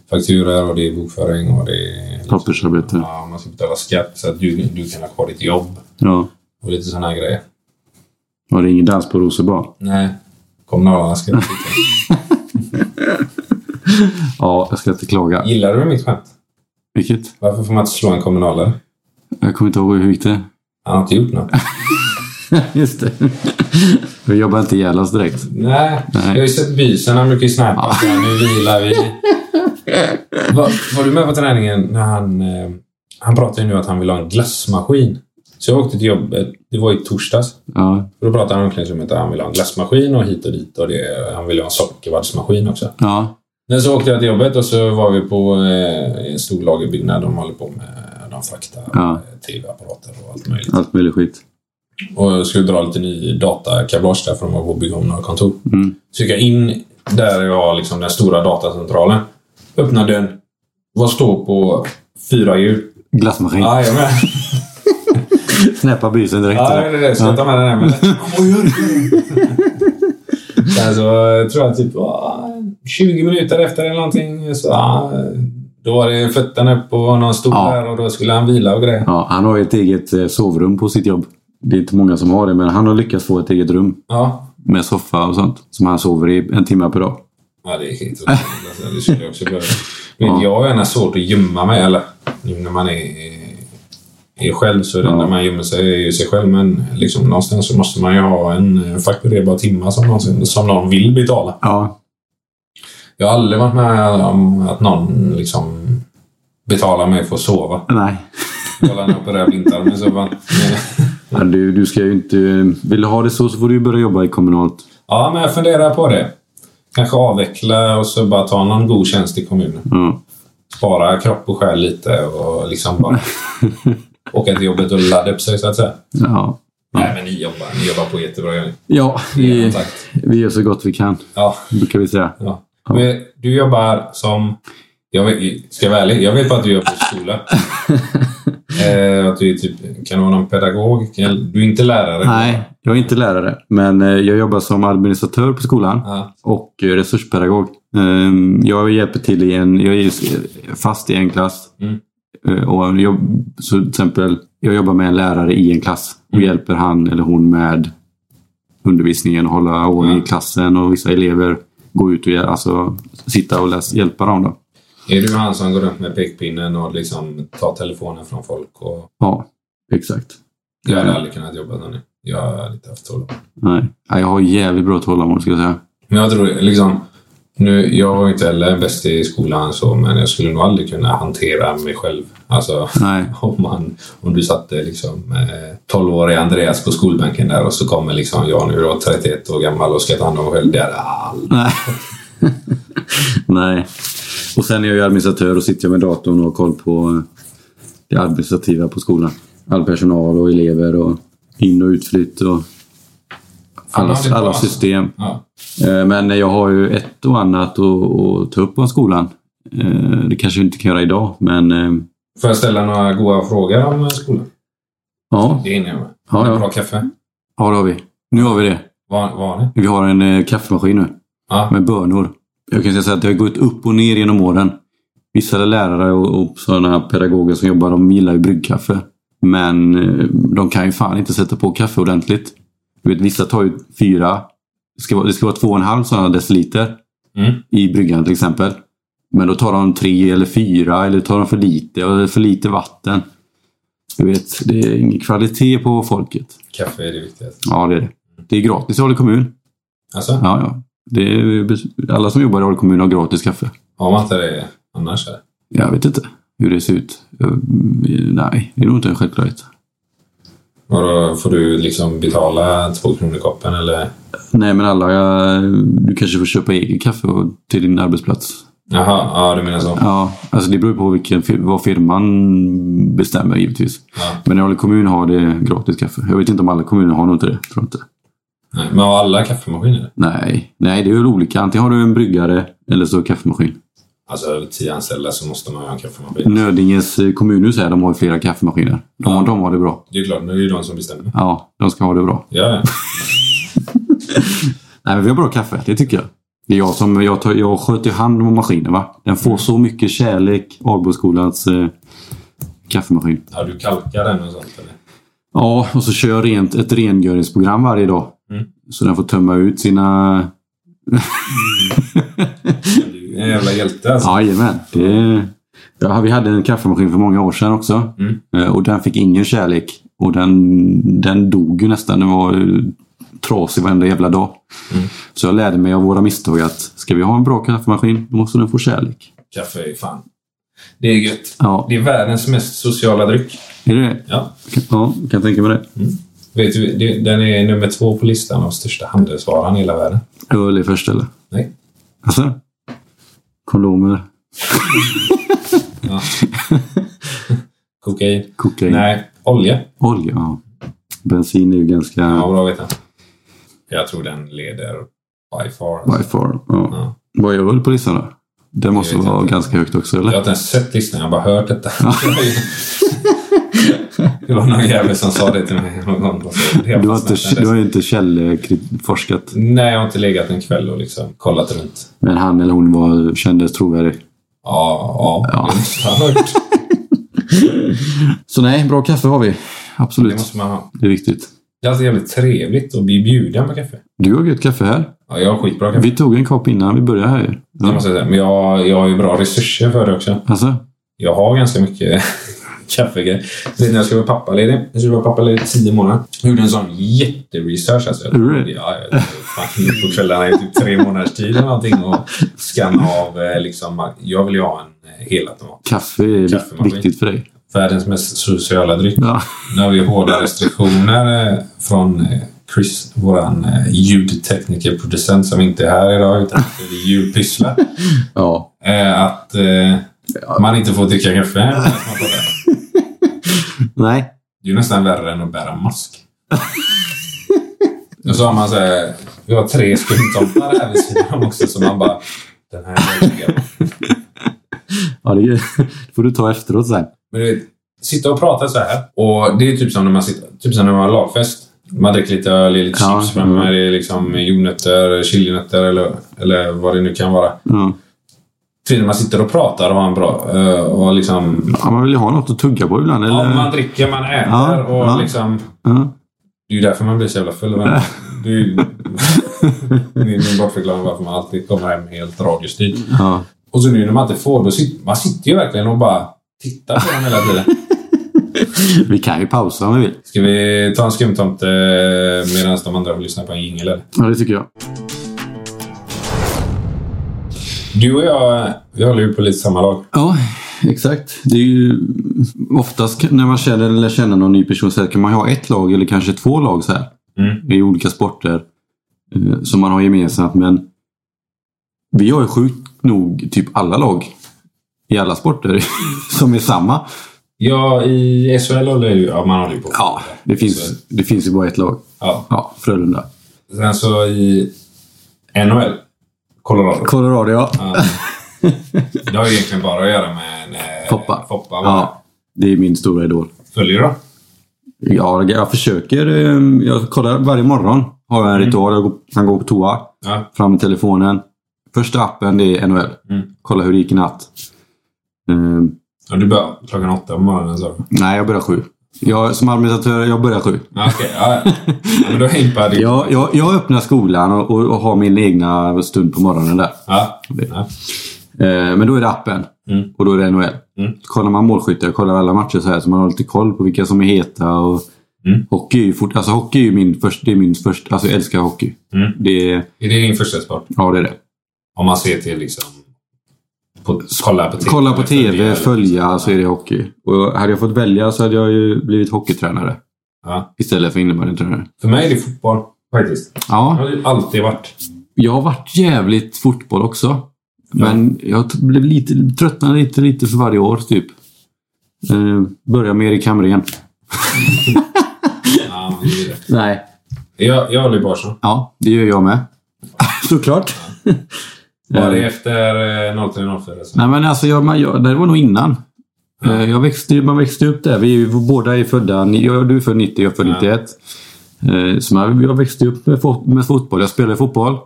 S2: fakturor och det är bokföring och det är...
S1: Pappersarbete.
S2: Ja, man ska betala skatt så att du, du kan ha kvar ditt jobb
S1: Ja.
S2: och lite sådana här grejer.
S1: Var det ingen dans på Rosenbad?
S2: Nej. Kommunalarna ska inte titta.
S1: Ja, jag ska inte klaga.
S2: Gillar du mitt skämt?
S1: Vilket?
S2: Varför får man inte slå en kommunalare?
S1: Jag kommer inte ihåg hur gick det.
S2: Han har inte gjort något.
S1: [LAUGHS] Just det. [LAUGHS] Vi jobbar inte ihjäl oss direkt.
S2: Nej, jag har ju sett bysen. Han brukar ju snappa. Ja. Nu vilar vi. Var, var du med på träningen när han... Eh, han pratar ju nu att han vill ha en glassmaskin. Så jag åkte till jobbet. Det var i torsdags.
S1: Ja.
S2: Och Då pratade han i omklädningsrummet att han vill ha en glassmaskin och hit och dit. Och det, han vill ha en sockervaddsmaskin också.
S1: Ja.
S2: Men så åkte jag till jobbet och så var vi på eh, en stor lagerbyggnad. De håller på med... De fraktar
S1: Ja.
S2: eh, tv-apparater och allt möjligt.
S1: Allt möjligt skit.
S2: Och jag skulle dra lite ny datakablage där för de var på att bygga om några kontor.
S1: Mm.
S2: Så gick jag in där jag har liksom den stora datacentralen. Öppnar dörren. Vad står på fyra hjul? Ah,
S1: Glassmaskin.
S2: Jajamän.
S1: Knäppa bysen direkt.
S2: Ja, det
S1: eller?
S2: är det. Ska jag ta med den här [LAUGHS] med? Vad gör [LAUGHS] du? Sen så eh, tror jag typ ah, 20 minuter efter eller någonting så... ah, Då var det fötterna upp och någon stod
S1: Ja.
S2: där och då skulle han vila och grejer.
S1: Ja, han har ju ett eget eh, sovrum på sitt jobb. Det är inte många som har det, men han har lyckats få ett eget rum
S2: Ja.
S1: med soffa och sånt. Som han sover i en timme per dag.
S2: Ja, det är helt otroligt. Alltså, det [LAUGHS] skulle jag också behöva. Men jag har gärna svårt att gömma mig, eller nu när man är är själv så det
S1: Ja.
S2: enda man gömmer sig är ju sig själv. Men liksom, någonstans så måste man ju ha en eh, fakturerbar timma som, någonsin, som någon vill betala.
S1: Ja,
S2: Jag har aldrig varit med om att någon liksom betalar mig för att sova.
S1: nej.
S2: Kolla nu på det här blindtarmen så bara...
S1: Ja, du, du ska ju inte... Vill du ha det så så får du ju börja jobba i kommunalt.
S2: Ja, men jag funderar på det. Kanske avveckla och så bara ta någon god tjänst i kommunen.
S1: Ja. [LAUGHS]
S2: spara kropp och själ lite och liksom bara åka till jobbet och ladda upp sig så att säga.
S1: Ja.
S2: Nej, men ni jobbar, ni jobbar på jättebra gör ni.
S1: Ja,
S2: Ja,
S1: vi,
S2: tack.
S1: vi gör så gott vi kan,
S2: Ja,
S1: brukar vi [LAUGHS] säga.
S2: ja. Men du jobbar som... Jag vet, ska jag vara ärlig, jag vet bara att du jobbar på skola. eh, att du är typ, kan du vara någon pedagog? Kan- Du är inte lärare?
S1: Nej, jag är inte lärare, men eh, jag jobbar som administratör på skolan
S2: Ja.
S1: och eh, resurspedagog. Ehm, Jag hjälper till i en... Jag är s- fast i en klass.
S2: Mm.
S1: Eh, Och jag, så till exempel, jag jobbar med en lärare i en klass och
S2: Mm.
S1: hjälper han eller hon med undervisningen, hålla ordning i
S2: Ja.
S1: klassen och vissa elever går ut och gör- alltså, sitta och läs, hjälpa dem. Då.
S2: Är du han som går runt med pekpinnen och liksom tar telefonen från folk? Och...
S1: Ja, exakt.
S2: Jag hade aldrig kunnat jobba som det. Jag hade inte haft tålamod.
S1: Nej. Ja, Jag har jävligt bra tålamod ska jag säga.
S2: Men jag tror liksom... Nu, jag var ju inte heller bäst i skolan så, men jag skulle nog aldrig kunna hantera mig själv. Alltså,
S1: Nej.
S2: [LAUGHS] om, man, om du satte liksom eh, 12-årig Andreas på skolbänken där och så kommer liksom jag nu då, 31 år gammal och ska ta hand om mig själv. Det hade all...
S1: Nej. [LAUGHS] Nej. Och sen är jag ju administratör och sitter med datorn och har koll på eh, det administrativa på skolan. All personal och elever och in och utflytt och alla,
S2: man vill
S1: alla
S2: vara.
S1: system.
S2: Ja.
S1: Eh, Men jag har ju ett och annat att, att ta upp på skolan. Eh, Det kanske vi inte kan göra idag, men eh,
S2: Får jag ställa några goda frågor om skolan?
S1: ja,
S2: Det hinner jag med.
S1: ja, ja.
S2: Bra kaffe?
S1: ja, det har vi. Nu har vi det.
S2: Var, var det?
S1: Vi har en eh, kaffemaskin nu.
S2: Ja.
S1: med bönor. Jag kan säga att det har gått upp och ner genom åren. Vissa lärare och, och sådana pedagoger som jobbar, de gillar ju bryggkaffe. Men eh, de kan ju fan inte sätta på kaffe ordentligt. Du vet, vissa tar ju fyra, det ska, vara- det ska vara två och en halv sådana deciliter
S2: Mm.
S1: i bryggan till exempel. Men då tar de tre eller fyra eller tar de för lite eller för lite vatten. Du vet, det är ingen kvalitet på folket.
S2: Kaffe är det viktigaste.
S1: Ja, det är det. Det är gratis i Ale kommun.
S2: Alltså,
S1: Ja, ja. Det är, alla som jobbar i Ale kommun har gratis kaffe.
S2: har man inte det annars? Eller?
S1: Jag vet inte hur det ser ut. Mm, Nej, det är nog inte en självklarhet.
S2: Och då får du liksom betala två kronor i koppen eller?
S1: Nej, men alla, eh, du kanske får köpa eget kaffe och- till din arbetsplats.
S2: Jaha, ja du menar så.
S1: Ja, alltså det beror på vilken, fir- vad firman bestämmer givetvis.
S2: Ja.
S1: Men i Ale kommun har det gratis kaffe. Jag vet inte om alla kommuner har nog inte det. Tror jag inte.
S2: Nej, men har alla kaffemaskiner?
S1: Nej, nej, det är väl olika. Antingen har du en bryggare eller så kaffemaskin.
S2: Alltså över tio anställda så måste man ha en kaffemaskin.
S1: Nödinges eh, kommunhus här, de har ju flera kaffemaskiner. De, har- de har det bra.
S2: Det är klart, nu är det ju de som bestämmer.
S1: Ja, de ska ha det bra.
S2: Ja, ja.
S1: Nej, men vi har bra kaffe. Det tycker jag. Det är jag som jag, tar, jag sköter ju hand om maskinen. Va? Den får så mycket kärlek, Ahlboskolans eh, kaffemaskin.
S2: ja du kalkar den och sånt eller?
S1: Ja, och så kör jag rent, ett rengöringsprogram varje dag.
S2: Mm.
S1: Så den får tömma ut sina...
S2: Ja, Du är en jävla hjälte alltså.
S1: Jajamän. Det... Ja, vi hade en kaffemaskin för många år sedan också.
S2: Mm.
S1: Eh, Och den fick ingen kärlek. Och den, den dog ju nästan. Den var eh, trasig varenda jävla dag.
S2: Mm.
S1: Så jag lärde mig av våra misstag att ska vi ha en bra kaffemaskin, då måste den få kärlek.
S2: Kaffe är fan. Det är gött.
S1: Ja,
S2: Det är världens mest sociala dryck.
S1: är det det?
S2: Ja.
S1: Ja, kan tänka mig det.
S2: Vet du, det- den är nummer två på listan av största handelsvaran i hela världen.
S1: Öl är först eller?
S2: Nej.
S1: Alltså? Kondomer?
S2: Kokain?
S1: Kokain?
S2: Nej. Olja?
S1: Olja? Ja. Bensin är ju ganska...
S2: Ja, bra att veta. Jag tror den leder by far. alltså.
S1: By far. Ja.
S2: Ja.
S1: Vad är öl på listan då? Det måste
S2: Jag vet
S1: vara
S2: inte.
S1: ganska högt också
S2: Jag
S1: eller?
S2: har inte ens sett listan, jag har bara hört detta. [LAUGHS] det var någon jävel som sa det till mig någon gång. Och så- det
S1: Du har, inte,
S2: fastnat där.
S1: du har ju inte källforskat.
S2: Nej, jag har inte legat en kväll och liksom kollat runt.
S1: Men han eller hon var, kändes trovärdig.
S2: Ja, ja.
S1: Ja.
S2: det har jag hört.
S1: Så nej, bra kaffe har vi.
S2: Det
S1: Absolut.
S2: måste man ha.
S1: Det är viktigt.
S2: Det är alltid jävligt trevligt att bli bjuden på kaffe.
S1: Du har gött kaffe här.
S2: Ja, jag har skitbra kaffe.
S1: Vi tog en kopp innan vi började här ju.
S2: Det måste jag säga. Men jag, jag har ju bra resurser för det också.
S1: Alltså?
S2: Jag har ganska mycket [LAUGHS] kaffegrej. Precis när jag skulle vara pappaledig. Jag skulle vara pappaledig i tio månader. Jag gjorde en sån jätteresearch. Alltså. Jag
S1: Gjorde du?
S2: ja, jag, fan, [LAUGHS] på kvällarna i typ tre månaders tid eller någonting och skanna av eh, liksom. Jag vill ju ha en eh, helautomat.
S1: Kaffe är
S2: Kaffemaskin.
S1: viktigt för dig.
S2: Världens mest sociala dryck.
S1: Ja.
S2: Nu har vi hårda restriktioner eh, från eh, Chris, våran eh, ljudteknikerproducent som inte är här
S1: [LAUGHS]
S2: idag utan det är ljudpyssla.
S1: ja.
S2: Eh, Att eh, man inte får dricka kaffe. när man pratar.
S1: Nej.
S2: Det är ju nästan värre än att bära mask. Och så har man så här, vi har tre skumtomtar här vid sidan om också så man bara, den här är läskig.
S1: Ja, [LAUGHS] det får du ta efteråt sen.
S2: Men du vet, sitta och prata så här. Och det är typ som när man sitter, typ som när man har lagfest. Man dricker lite öl, det är lite
S1: Ja,
S2: chips
S1: mm.
S2: framme, det är liksom jordnötter, chilinötter eller, eller vad det nu kan vara.
S1: Ja.
S2: Till när man sitter och pratar och har en bra... eh, Och liksom,
S1: Ja, man vill ju ha något att tugga på ibland. Eller?
S2: ja, man dricker, man äter
S1: Ja,
S2: och
S1: ja.
S2: liksom...
S1: Ja. [LAUGHS]
S2: Det är ju därför man blir så jävla full. Men det är ju det är min bortförklaring varför man alltid kommer hem helt radiostyrd.
S1: Ja.
S2: Och så nu när man inte får, då sitter man sitter ju verkligen och bara tittar på den hela tiden.
S1: Vi kan ju pausa om vi vill.
S2: Ska vi ta en skumtomte medan de andra lyssnar på en jingel eller?
S1: Ja, det tycker jag.
S2: Du och jag, vi håller ju på lite samma lag.
S1: Ja, exakt. Det är ju oftast när man känner eller känner någon ny person så här, kan man ju ha ett lag eller kanske två lag så här.
S2: Mm.
S1: I olika sporter eh, som man har gemensamt. Men vi har ju sjukt nog typ alla lag i alla sporter [LAUGHS] som är samma.
S2: Ja, i SHL håller ju... Ja, man håller ju på.
S1: Ja, det finns, det finns ju bara ett lag.
S2: ja.
S1: Ja, Frölunda.
S2: Sen så i NHL, Colorado.
S1: Colorado, ja.
S2: Ja. Det har ju egentligen bara att göra med en,
S1: [LAUGHS]
S2: eh,
S1: Foppa.
S2: Foppa va?
S1: ja. Det är min stora idol.
S2: Följer du då?
S1: Ja, jag försöker. eh, Jag kollar varje morgon. Har
S2: Mm.
S1: jag en ritual. Jag går- kan gå på toa.
S2: Ja.
S1: Fram med telefonen. Första appen det är NHL.
S2: Mm.
S1: Kolla hur det gick i natt. Ehm,
S2: ja du börjar klockan åtta på morgonen sa du?
S1: nej, jag börjar sju. Jag, som administratör, jag börjar sju.
S2: Ja, Okej, ja. ja. ja. Men då himpar det.
S1: Jag, jag, jag öppnar skolan och, och, och har min egna stund på morgonen där.
S2: Ja. Ja.
S1: Eh, men då är det appen
S2: Mm.
S1: och då är det NHL.
S2: Mm.
S1: Kollar man målskyttar, kollar alla matcher så här så man har lite koll på vilka som är heta. Och
S2: Mm.
S1: hockey, är ju fort, alltså, hockey är ju min första... Det är min första... Alltså jag älskar hockey.
S2: Mm.
S1: Det är...
S2: Är det din första sport?
S1: Ja, det är det.
S2: Om man ser till liksom... På, kolla på TV.
S1: Kolla på tv,
S2: Följa-
S1: följa, så är det hockey. Och hade jag fått välja så hade jag ju blivit hockeytränare.
S2: Ja.
S1: Istället för innebandytränare.
S2: För mig är det fotboll,
S1: Ah.
S2: faktiskt. Det
S1: Ja,
S2: har det alltid varit.
S1: jag har varit jävligt fotboll också. Men jag t- blev lite, tröttnade lite, lite för varje år typ. Eh, börja med Erik Hamrén.
S2: Ja, men det är det.
S1: Nej.
S2: Jag, jag håller ju Barca.
S1: Ja, det gör jag med. [LAUGHS] Såklart.
S2: Var det efter eh, 03-04? så?
S1: Nej men alltså, jag, man, jag, det var nog innan. Eh, Jag växte, man växte upp där. Vi är ju- båda är födda... ni- Jag, du är född 90, jag är född
S2: Ja.
S1: 91. Eh, Så man, jag växte upp med, fot- med fotboll. Jag spelade fotboll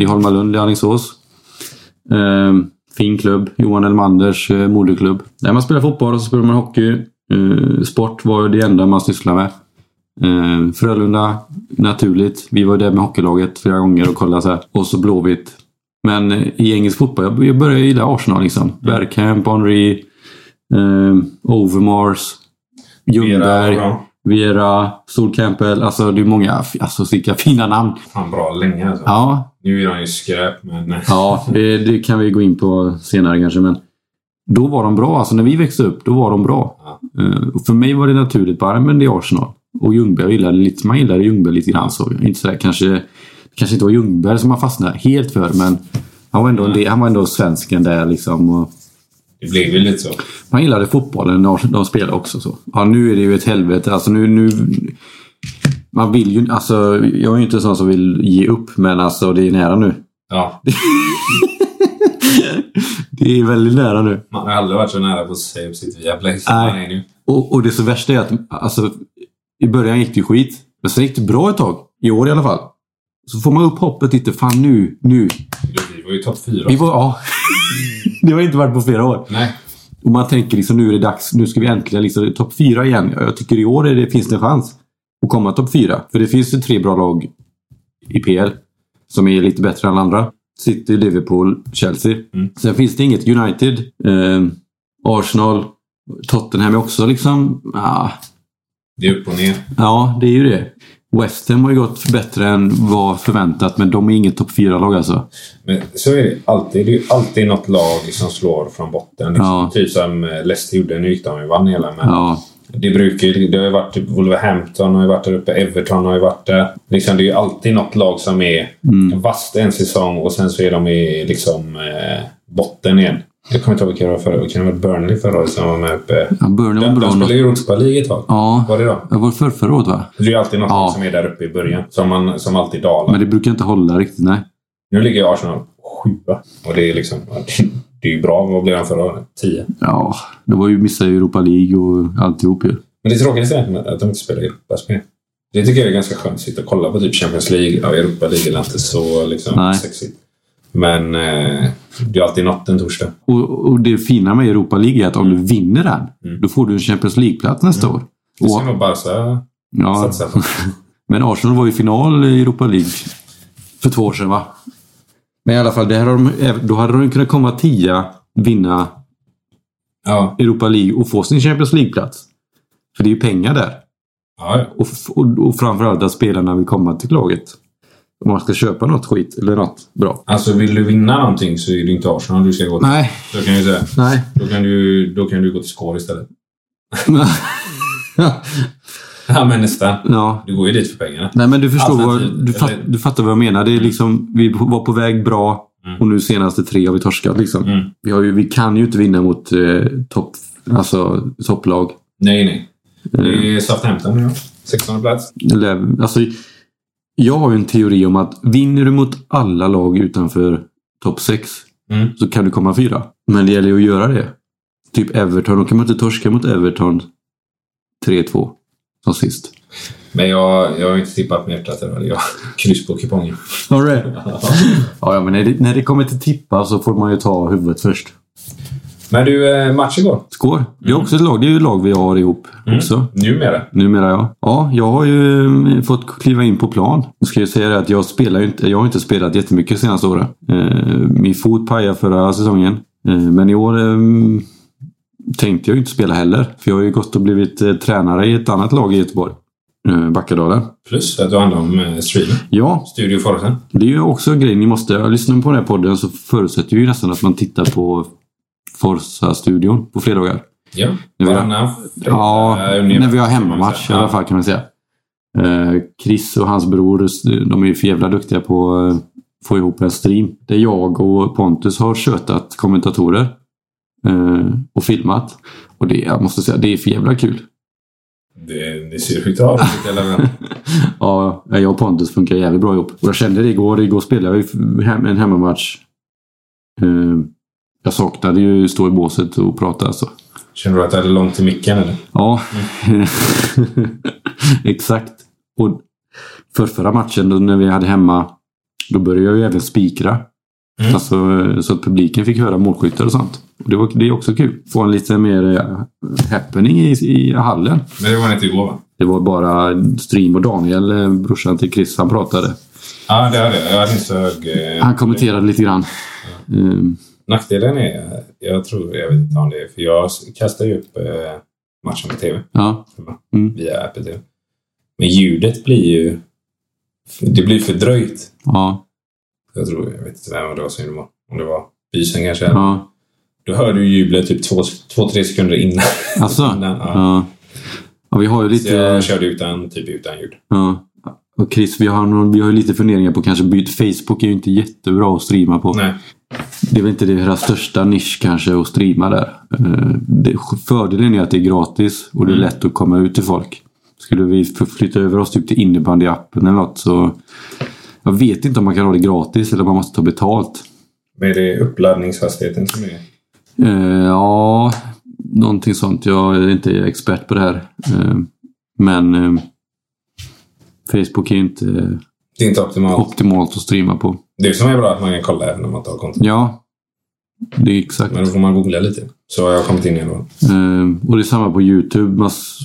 S1: i Holmalund i Alingsås. Eh, Fin klubb. Johan Elmanders eh, moderklubb. Där man spelar fotboll och så spelar man hockey. Eh, Sport var ju det enda man sysslade med. Eh, Frölunda, naturligt. Vi var där med hockeylaget flera gånger och kollade så här. Och så Blåvitt. Men eh, i engelsk fotboll, jag- jag började gilla Arsenal liksom. Bergkamp, Henry, eh, Overmars, Ljungberg,
S2: Era- ja.
S1: Vera, Sol Campbell. Alltså det är många, alltså vilka fina namn.
S2: Fan, bra länge alltså.
S1: Ja,
S2: Nu är han ju skräp, men... eh,
S1: ja det, det kan vi gå in på senare kanske. Men då var de bra. Alltså när vi växte upp, då var de bra. Eh, och för mig var det naturligt bara, men det är Arsenal. Och Ljungberg jag gillade lite, man gillade Ljungberg lite grann såg jag. Inte sådär kanske, kanske inte var Ljungberg som man fastnade helt för, men han var ändå, en del- han var ändå svensken där liksom. Och
S2: Det blev ju lite så.
S1: man gillade fotbollen när de spelade också. Så. Ja, nu är det ju ett helvete. Alltså nu... nu man vill ju alltså, Jag är ju inte sån som vill ge upp, men alltså det är nära nu.
S2: Ja.
S1: Det är väldigt nära nu.
S2: Man har aldrig varit så nära på att säga upp sitt Viaplay som
S1: Nej.
S2: man är nu.
S1: Och, och det så värsta är att alltså, i början gick det ju skit. Men sen gick det bra ett tag. I år i alla fall. Så får man upp hoppet lite. Fan nu, nu.
S2: Vi var ju topp fyra.
S1: Vi var, ja. [LAUGHS] det har inte varit på flera år.
S2: Nej.
S1: Och man tänker liksom nu är det dags. Nu ska vi äntligen liksom topp fyra igen. Ja, Jag tycker i år är det, finns det en chans att komma topp fyra. För det finns ju tre bra lag i PL som är lite bättre än andra. City, Liverpool, Chelsea.
S2: Mm.
S1: Sen finns det inget United, eh, Arsenal, Tottenham är också liksom... Ja,
S2: Det är upp och ner.
S1: ja det är ju det. West Ham har ju gått bättre än vad förväntat, men de är inget topp 4-lag alltså.
S2: Men så är det alltid. Det är ju alltid något lag som slår från botten. Liksom.
S1: Ja.
S2: Typ som eh, Leicester gjorde. Nu gick de ju vann hela. Men
S1: Ja,
S2: det, brukar, ju- det har ju varit typ Wolverhampton har ju varit där uppe. Everton har ju varit där. Liksom, det är ju alltid något lag som är
S1: Mm.
S2: vasst en säsong och sen så är de i liksom, eh, botten igen. Jag kommer inte ihåg vilka det var förra året. Kan det ha varit Burnley förra året som var med uppe?
S1: ja Burnley var
S2: De, de
S1: bra.
S2: spelade
S1: nå-
S2: ju Europa League ett tag.
S1: Ja,
S2: Var det då?
S1: det var förra, förra året va?
S2: Det är ju alltid något
S1: Ja.
S2: lag som är där uppe i början. Som, man, som alltid dalar.
S1: Men det brukar inte hålla riktigt, nej.
S2: Nu ligger ju Arsenal sjua. Och det är liksom... [LAUGHS] Det är ju bra. Vad blev de förra året? Tio.
S1: Ja, det var ju missa Europa League och alltihop ju.
S2: Men det tråkigaste är att de inte spelar Europaspel. Det tycker jag är ganska skönt. Sitta och kolla på typ Champions League. Ja, Europa League är inte så liksom,
S1: Nej.
S2: sexigt. Men eh, det är alltid något en torsdag.
S1: Och, och det fina med Europa League är att om du vinner den, då får du en Champions League-plats nästa år.
S2: Mm. Det ska
S1: Och,
S2: nog Barca
S1: ja,
S2: satsa på.
S1: men Arsenal var ju i final i Europa League för två år sedan va? Men i alla fall, det här har de, eh, då hade de kunnat komma tia, vinna
S2: Ja.
S1: Europa League och få sin Champions League-plats. För det är ju pengar där.
S2: ja, ja.
S1: Och, f- och, och framförallt att spelarna vill komma till laget. Om man ska köpa något skit eller något bra.
S2: Alltså vill du vinna någonting så är det inte Arsenal du ska gå till.
S1: Nej,
S2: Då kan, jag ju säga,
S1: nej.
S2: [LAUGHS] då, kan du, då kan du gå till Skår istället. [LAUGHS] Ja, men nästan.
S1: ja,
S2: Du går ju dit för pengarna.
S1: Nej men du förstår vad,
S2: Alternativ,
S1: du, fatt,
S2: eller-
S1: du fattar vad jag menar. Det är liksom, vi var på väg bra
S2: Mm.
S1: och nu senaste tre har vi torskat. Liksom.
S2: Mm.
S1: Vi, har ju, vi kan ju inte vinna mot eh, topp, alltså, topplag.
S2: Nej, nej.
S1: Mm.
S2: Det är Southampton nu. 16 plats.
S1: Eller, alltså, jag har ju en teori om att vinner du mot alla lag utanför topp 6
S2: Mm.
S1: så kan du komma fyra. Men det gäller ju att göra det. Typ Everton, då kan man inte torska mot Everton 3-2 som sist.
S2: Men jag, jag har inte tippat med hjärtat. Eller? Jag kryss på [LAUGHS] kupongen.
S1: Har du det? Ja, ja, men när det, när det kommer till tippa så får man ju ta huvudet först.
S2: Men du, eh, match igår?
S1: Skår. Det är också ett lag. Det är ju ett lag vi har ihop också.
S2: Numera?
S1: Numera ja. Ja, jag har ju mm, fått kliva in på plan. Jag ska ju säga det att jag spelar ju inte. Jag har inte spelat jättemycket de senaste åren. Eh, min fot pajade förra säsongen. Eh, men i år eh, tänkte jag ju inte spela heller. För jag har ju gått och blivit eh, tränare i ett annat lag i Göteborg. Eh, Backadalen.
S2: Plus att du handlar om eh, streamen.
S1: Ja,
S2: Studio Forsen.
S1: det är ju också en grej. Ni måste, lyssna på den här podden så förutsätter ju nästan att man tittar på Forza-studion på fredagar.
S2: Ja.
S1: Nu är
S2: Varannan
S1: Ja,
S2: fredag, eh, ungefär,
S1: när vi har
S2: kan man
S1: hemmamatch i
S2: säga.
S1: alla fall kan man säga. Eh, Chris och hans bror, de är ju för jävla duktiga på att eh, få ihop en stream. Där jag och Pontus har tjötat kommentatorer eh, och filmat. Och det, jag måste säga, det är för jävla kul.
S2: Ja. Det, det ser sjukt bra ut. eller vad?
S1: Ja, jag och Pontus funkar jävligt bra ihop. Och jag kände det igår. Igår spelade jag ju hem, en hemmamatch. Eh, jag saknade ju stå i båset och prata alltså.
S2: Känner du att det är långt till micken eller?
S1: Ja, [LAUGHS] exakt. Och för förra matchen då, när vi hade hemma, då började jag ju även spikra.
S2: Mm.
S1: Alltså, så att publiken fick höra målskyttar och sånt. Och det, var, det är också kul. Få en lite mer eh, happening i, i hallen.
S2: Men det var inte igår va?
S1: Det var bara Stream och Daniel, eh, brorsan till Chris, han pratade.
S2: Ja, det hade jag. Jag hade inte så hög... eh,
S1: Han kommenterade lite grann. Ehm,
S2: Nackdelen är, jag tror, jag vet inte om det är, för jag kastar ju upp eh, matchen på tv
S1: ja.
S2: via Apple TV. Men ljudet blir ju, det blir fördröjt.
S1: Ja.
S2: Jag tror, jag vet inte vem det var som gjorde mål. Om det var Bysen kanske.
S1: ja.
S2: Då hör du jublet typ två, två tre sekunder innan.
S1: Alltså.
S2: innan ja.
S1: Ja. ja. Vi har ju
S2: Så jag
S1: lite...
S2: körde utan, typ utan ljud.
S1: Ja. Och Chris, vi har, någon, vi har ju lite funderingar på kanske byt. Facebook är ju inte jättebra att streama på.
S2: Nej.
S1: Det är väl inte deras största nisch kanske att streama där. Eh, det, fördelen är att det är gratis och det är lätt att komma ut till folk. Skulle vi f- flytta över oss typ till innebandyappen eller något så... Jag vet inte om man kan ha det gratis eller om man måste ta betalt.
S2: Men är det uppladdningshastigheten som är...
S1: Eh, ja, någonting sånt. Jag är inte expert på det här. Eh, men eh, Facebook är ju inte
S2: Det är inte optimalt.
S1: optimalt att streama på.
S2: Det som är bra är att man kan kolla även om man inte har konto.
S1: Ja, det är exakt.
S2: Men då får man googla lite. Så har jag kommit in i ändå.
S1: Eh, och det är samma på YouTube. Man s-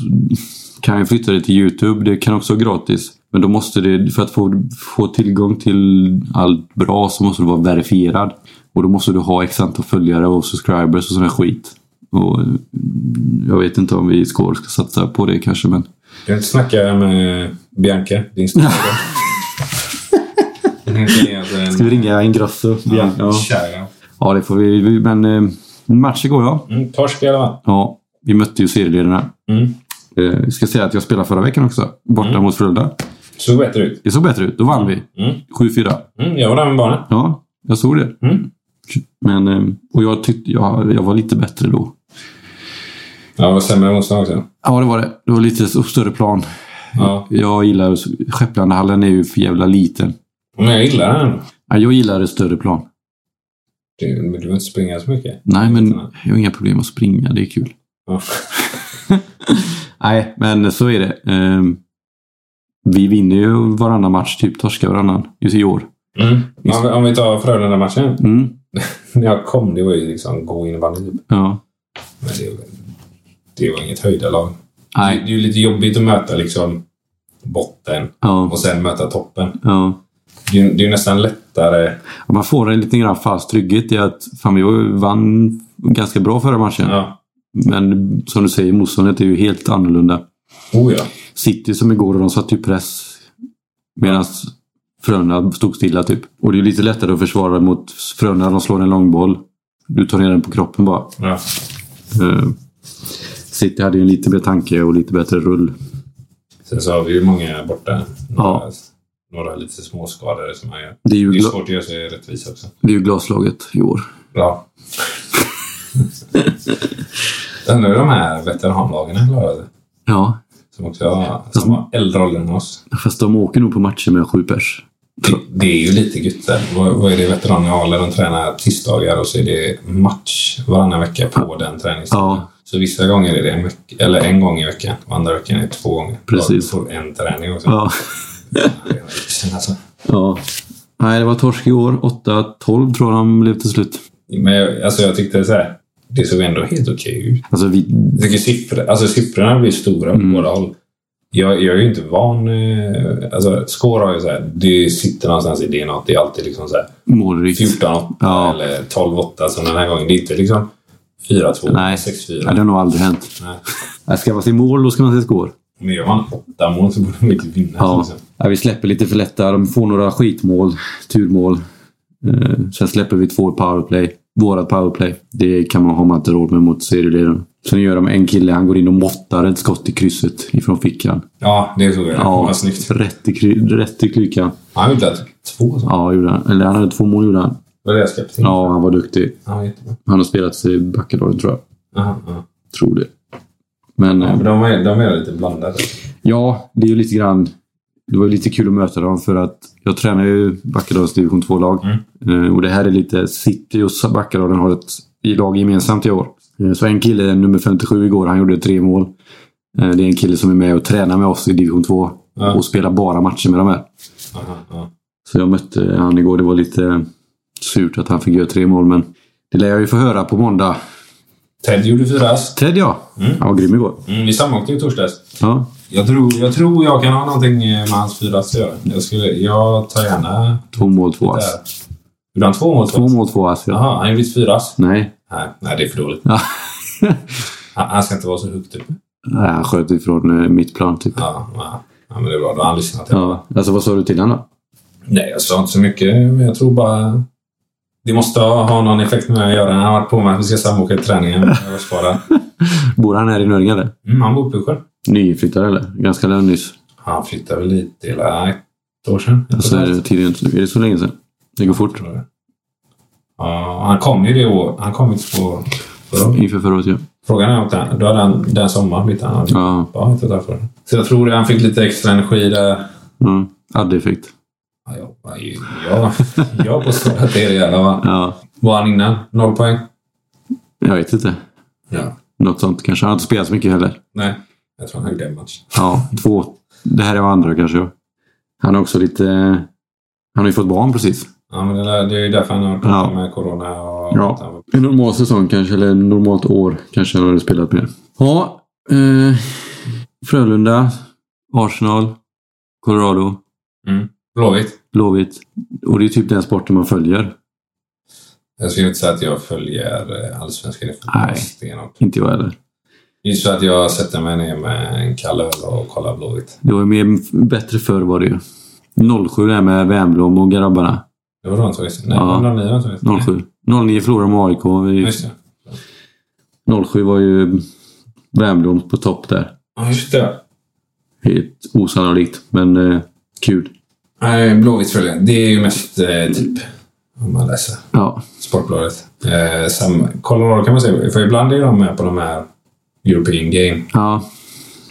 S1: kan ju flytta det till YouTube. Det kan också vara gratis. Men då måste det, för att få, få tillgång till allt bra så måste du vara verifierad. Och då måste du ha x antal följare och subscribers och sån här skit. Och eh, jag vet inte om vi i Skål ska satsa på det kanske, men
S2: Jag vill inte snacka med Bianca, din stora Den heter alltså en...
S1: Ska vi ringa Ingrosso?
S2: Ja,
S1: Ja, ja.
S2: kära.
S1: ja det får vi. vi- Men eh, en match igår ja.
S2: Mm, torsk i alla fall.
S1: Ja, vi mötte ju serieledarna.
S2: Mm.
S1: Eh, jag ska säga att jag spelade förra veckan också. Borta mot Frölunda.
S2: Såg bättre ut.
S1: Det såg bättre ut. Då vann vi.
S2: Mm.
S1: 7-4.
S2: Mm, jag var där med barnen.
S1: Ja, jag såg det.
S2: Mm.
S1: Men, eh, och jag tyckte jag, jag var lite bättre då.
S2: Ja, det var sämre motstånd också.
S1: Ja, det var det. Det var lite så- större plan.
S2: Ja.
S1: Jag gillar... Skepplandahallen är ju för jävla liten.
S2: Men jag gillar den ändå.
S1: Ja, jag gillar ett större plan.
S2: Du du behöver inte springa så mycket.
S1: Nej, men
S2: Mm.
S1: jag har inga problem att springa. Det är kul. [LAUGHS]
S2: Ja.
S1: Nej, men så är det. Ehm, vi vinner ju varannan match, typ torskar varannan. Just i år.
S2: Mm. Om, vi- om vi tar Frölunda-matchen.
S1: Mm.
S2: När jag kom, det var ju liksom gå in vann typ.
S1: Ja.
S2: Men det, det var inget höjdarlag. Det,
S1: Nej.
S2: det är ju lite jobbigt att möta liksom botten
S1: Ja.
S2: och sen möta toppen.
S1: ja.
S2: Det, är ju- det är ju nästan lättare.
S1: Man får en liten grann fast trygghet i att fan, vi var- vann ganska bra förra matchen.
S2: Ja.
S1: Men som du säger, motståndet är ju helt annorlunda.
S2: Oh ja.
S1: City som igår, och de satte ju press. Medan Frölunda stod stilla typ. Och det är ju lite lättare att försvara mot Frölunda. De slår en långboll. Du tar ner den på kroppen bara.
S2: ja.
S1: Eh, City hade ju en lite bättre tanke och lite bättre rull.
S2: Sen så har vi ju många borta. Några,
S1: Ja.
S2: några lite småskadade som man gör.
S1: Det är ju,
S2: Det är
S1: gla-
S2: svårt att göra sig rättvis också.
S1: det är ju glaslaget i år.
S2: Ja. [LAUGHS] Undrar hur de här veteranlagen klarar sig.
S1: Ja,
S2: Som också har, som har äldre ålder än oss.
S1: fast de åker nog på matcher med sju pers.
S2: Det, det är ju lite gött där. Vad, vad är det veteraner har? De tränar tisdagar och så är det match varannan vecka på den träningsdagen.
S1: Ja.
S2: Så vissa gånger är det en, veck, eller en gång i veckan och andra veckan är det två gånger.
S1: Precis.
S2: Då får en träning också.
S1: Ja.
S2: Alltså.
S1: ja. Nej, det var torsk i år. 8-12 tror jag de blev till slut.
S2: Men jag, alltså jag tyckte så här. Det såg ändå helt okej ut.
S1: Alltså, vi...
S2: Jag tycker siffror, alltså siffrorna blir stora
S1: Mm.
S2: på båda håll. Jag, jag är ju inte van... eh, Alltså, score har ju så här, det sitter någonstans i DNA. Det är alltid liksom så här
S1: Målrikt.
S2: 14-8
S1: Ja.
S2: eller 12-8 som den här gången. Det är inte liksom 4-2,
S1: Nej.
S2: 6-4.
S1: Ja, det har nog aldrig
S2: [LAUGHS]
S1: hänt.
S2: Nej.
S1: Nej, Ska man se mål, då ska man se skår.
S2: Men gör man åtta mål så borde de inte vinna.
S1: Ja.
S2: Liksom.
S1: ja, vi släpper lite för lätta. De får några skitmål, turmål. Eh, sen släpper vi två i powerplay. Vårat powerplay. Det kan man, har man inte råd med mot serieledaren. Sen gör de en kille, han går in och måttar ett skott i krysset ifrån fickan.
S2: ja, det såg jag. Ja. Vad snyggt.
S1: rätt i, kry- rätt i klykan.
S2: Han gjorde att två så.
S1: Ja, gjorde han. Eller han hade två mål gjorde han.
S2: Var det jag släppte till?
S1: Ja, han var duktig.
S2: Ja, jättebra.
S1: Han har spelat i Backadalen tror jag.
S2: Aha, aha.
S1: Tror det. Men...
S2: Ja,
S1: eh,
S2: men de, är, de är lite blandade.
S1: Ja, det är ju lite grann... Det var ju lite kul att möta dem för att jag tränar ju Backadalens division 2-lag.
S2: Mm.
S1: Eh, Och det här är lite City och Backadalen har ett i- lag gemensamt i år. Eh, Så en kille, nummer 57 igår, han gjorde tre mål. Eh, Det är en kille som är med och tränar med oss i division 2
S2: Ja.
S1: och spelar bara matcher med de här.
S2: Aha, aha.
S1: Så jag mötte han igår. Det var lite surt att han fick göra tre mål, men det lär jag ju få höra på måndag.
S2: Ted gjorde fyra ass.
S1: Ted ja! Han var grym igår.
S2: Mm, vi samåkte i torsdags.
S1: Ja,
S2: Jag tror, jag tror jag kan ha någonting med hans fyra ass att göra. Jag, skulle, jag tar gärna
S1: två mål, två
S2: där.
S1: ass.
S2: Gjorde han två mål?
S1: Två mål, två ass. Ja.
S2: Jaha, han gjorde fyra ass.
S1: Nej.
S2: Nej, nej, det är för dåligt.
S1: Ja.
S2: Han, han ska inte vara så högt upp.
S1: Nej, han sköt ifrån eh, mitt plan typ.
S2: Ja, ja. ja, men det är bra. Då har han lyssnat.
S1: Ja, alltså vad sa du till honom
S2: Nej, jag sa inte så mycket. Men jag tror bara... Det måste ha, ha någon effekt med att göra. Han har varit på mig att vi ska samåka i träningen. Jag var sparad.
S1: då? Bor han här i Nöringe eller?
S2: Mm, han bor på Pusjön.
S1: Nyinflyttad eller? Ganska nyss.
S2: Han flyttade väl hit hela ett år sedan.
S1: Alltså är det, tidigare, är det så länge sedan? Det går fort.
S2: Tror jag. Ja, han kom ju det år. Han kom inte på... förra året.
S1: Inför förra året ja.
S2: Frågan är om den... Då hade han den sommaren bytte han.
S1: Ja.
S2: Ja, inte därför. Så jag tror att han fick lite extra energi där.
S1: Mm. Adde-effekt.
S2: Ja, jag- jag, jag, jag påstår att det är det jävla va?
S1: Ja.
S2: Var han innan? Noll poäng?
S1: Jag vet inte.
S2: Ja.
S1: Något sånt kanske. Han har inte spelat så mycket heller.
S2: Nej. Jag tror han gjorde en match.
S1: Ja, två. Det här är vad andra kanske. ja. Han har också lite... eh, Han har ju fått barn precis.
S2: Ja, men det, där, det är ju därför han har
S1: Ja.
S2: kommit med corona och...
S1: Ja. En normal säsong kanske, eller en normalt år kanske han hade spelat mer. Ja. Eh, Frölunda. Arsenal. Colorado.
S2: Blåvitt.
S1: Blåvitt. Och det är typ den sporten man följer.
S2: Jag skulle inte säga att jag följer eh, allsvenskan i fotboll
S1: Nej.
S2: stenhårt.
S1: Inte jag heller.
S2: Det är så att jag sätter mig ner med en kall öl och kollar Blåvitt.
S1: Det var ju mer, bättre förr var det ju. 07 där med Wernbloom och grabbarna.
S2: Det var då han tog sig. Nej,
S1: Ja.
S2: 09 var han tog sig.
S1: 07. 09 förlorade med AIK. Vi-
S2: Just det.
S1: 07 var ju Wernbloom på topp där.
S2: Ja, just det.
S1: Helt osannolikt, men eh, kul.
S2: Nej, Blåvitt följer. Det är ju mest eh, typ, om man läser,
S1: Ja, Sportbladet.
S2: Sportbladet. Eh, sam, Colorado kan man säga, för ibland är de med på de här European Game.
S1: Ja,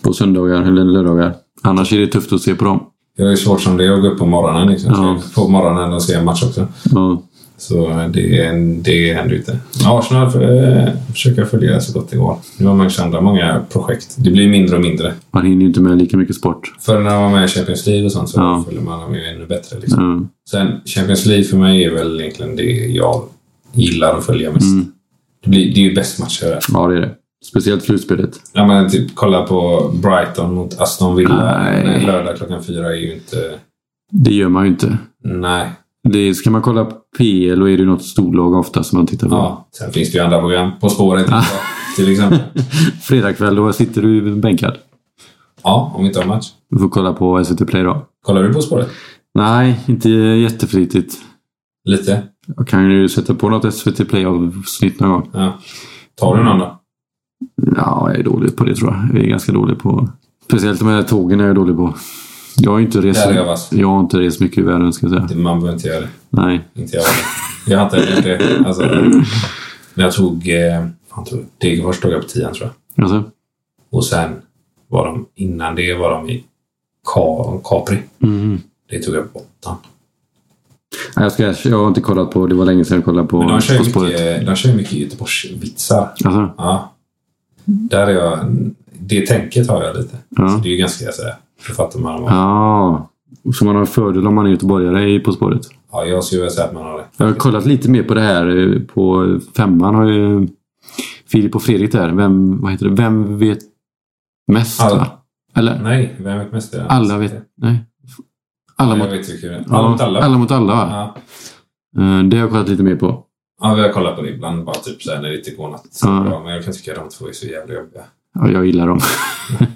S1: på söndagar eller lördagar. Annars är det tufft att se på dem.
S2: Det är ju svårt som det är att gå upp på morgonen. Liksom.
S1: Ja.
S2: Så På morgonen och se en match också.
S1: Ja,
S2: Så eh, det, är- det händer ju inte. Arsenal eh, försöker följa så gott det går. Nu har man ju så andra många projekt. Det blir mindre och mindre.
S1: man hinner ju inte med lika mycket sport.
S2: Förr när man var med i Champions League och sånt så
S1: Ja.
S2: följer man dem ju ännu bättre.
S1: Ja.
S2: Liksom. Sen Champions League för mig är väl egentligen det jag gillar att följa mest.
S1: Mm.
S2: Det, blir, det är ju bäst matcher där.
S1: Ja, det är det. Speciellt slutspelet.
S2: Ja, men typ kolla på Brighton mot Aston Villa
S1: Nej.
S2: Nej. lördag klockan fyra är ju inte...
S1: Det gör man ju inte.
S2: Nej.
S1: Det ska man kolla på PL och är det något storlag ofta som man tittar på. [LAUGHS]
S2: Ja. Sen finns det ju andra program. På spåret till exempel.
S1: Fredagkväll, då sitter du bänkad.
S2: Ja, om vi inte har match.
S1: Du får kolla på SVT Play då.
S2: Kollar du På spåret?
S1: Nej, inte jätteflitigt.
S2: Lite.
S1: Jag kan ju sätta på något SVT Play-avsnitt någon gång.
S2: Ja. Tar du någon då?
S1: Ja, jag är dålig på det tror jag. Jag är ganska dålig på... Speciellt de här tågen är jag dålig på. Jag har ju inte rest...
S2: Där är jag vass.
S1: Jag har inte rest mycket i världen ska jag säga.
S2: Det- Man behöver inte göra det.
S1: Nej.
S2: Inte jag. Jag har inte gjort det. Alltså, när jag tog... Eh, fan tog jag? Degerfors tog jag på tian, tror jag.
S1: Alltså?
S2: Och sen var de... Innan det var de i Ka, Capri.
S1: Mm.
S2: Det tog jag på åttan.
S1: Nej, jag, ska, jag har inte kollat på... Det var länge sedan jag kollade på
S2: Men de kör
S1: På
S2: ju
S1: spåret.
S2: mycket, de kör ju mycket Göteborgsvitsar.
S1: Alltså?
S2: Ja. Där är jag... Det tänket har jag lite.
S1: Ja.
S2: Så det är ju ganska sådär... Författar man om.
S1: Ja. Så man har en fördel om man är göteborgare i På spåret.
S2: Ja, jag skulle vilja säga att man har det.
S1: Jag har kollat lite mer på det här eh, på femman har ju Filip och Fredrik där. Vem, vad heter det? Vem vet mest?
S2: Alla.
S1: va? Eller?
S2: Nej, vem vet mest? Det är den.
S1: Alla vet... Nej. Alla
S2: Jag
S1: mot
S2: vet hur kul det är. Alla mot
S1: ja,
S2: alla.
S1: alla. mot alla va?
S2: Ja.
S1: Eh, Det har jag kollat lite mer på.
S2: Ja, vi har kollat på det ibland. Bara typ såhär när det inte går något så
S1: Ja.
S2: bra. Men jag kan tycka att de två är så jävla jobbiga.
S1: Ja, jag gillar dem.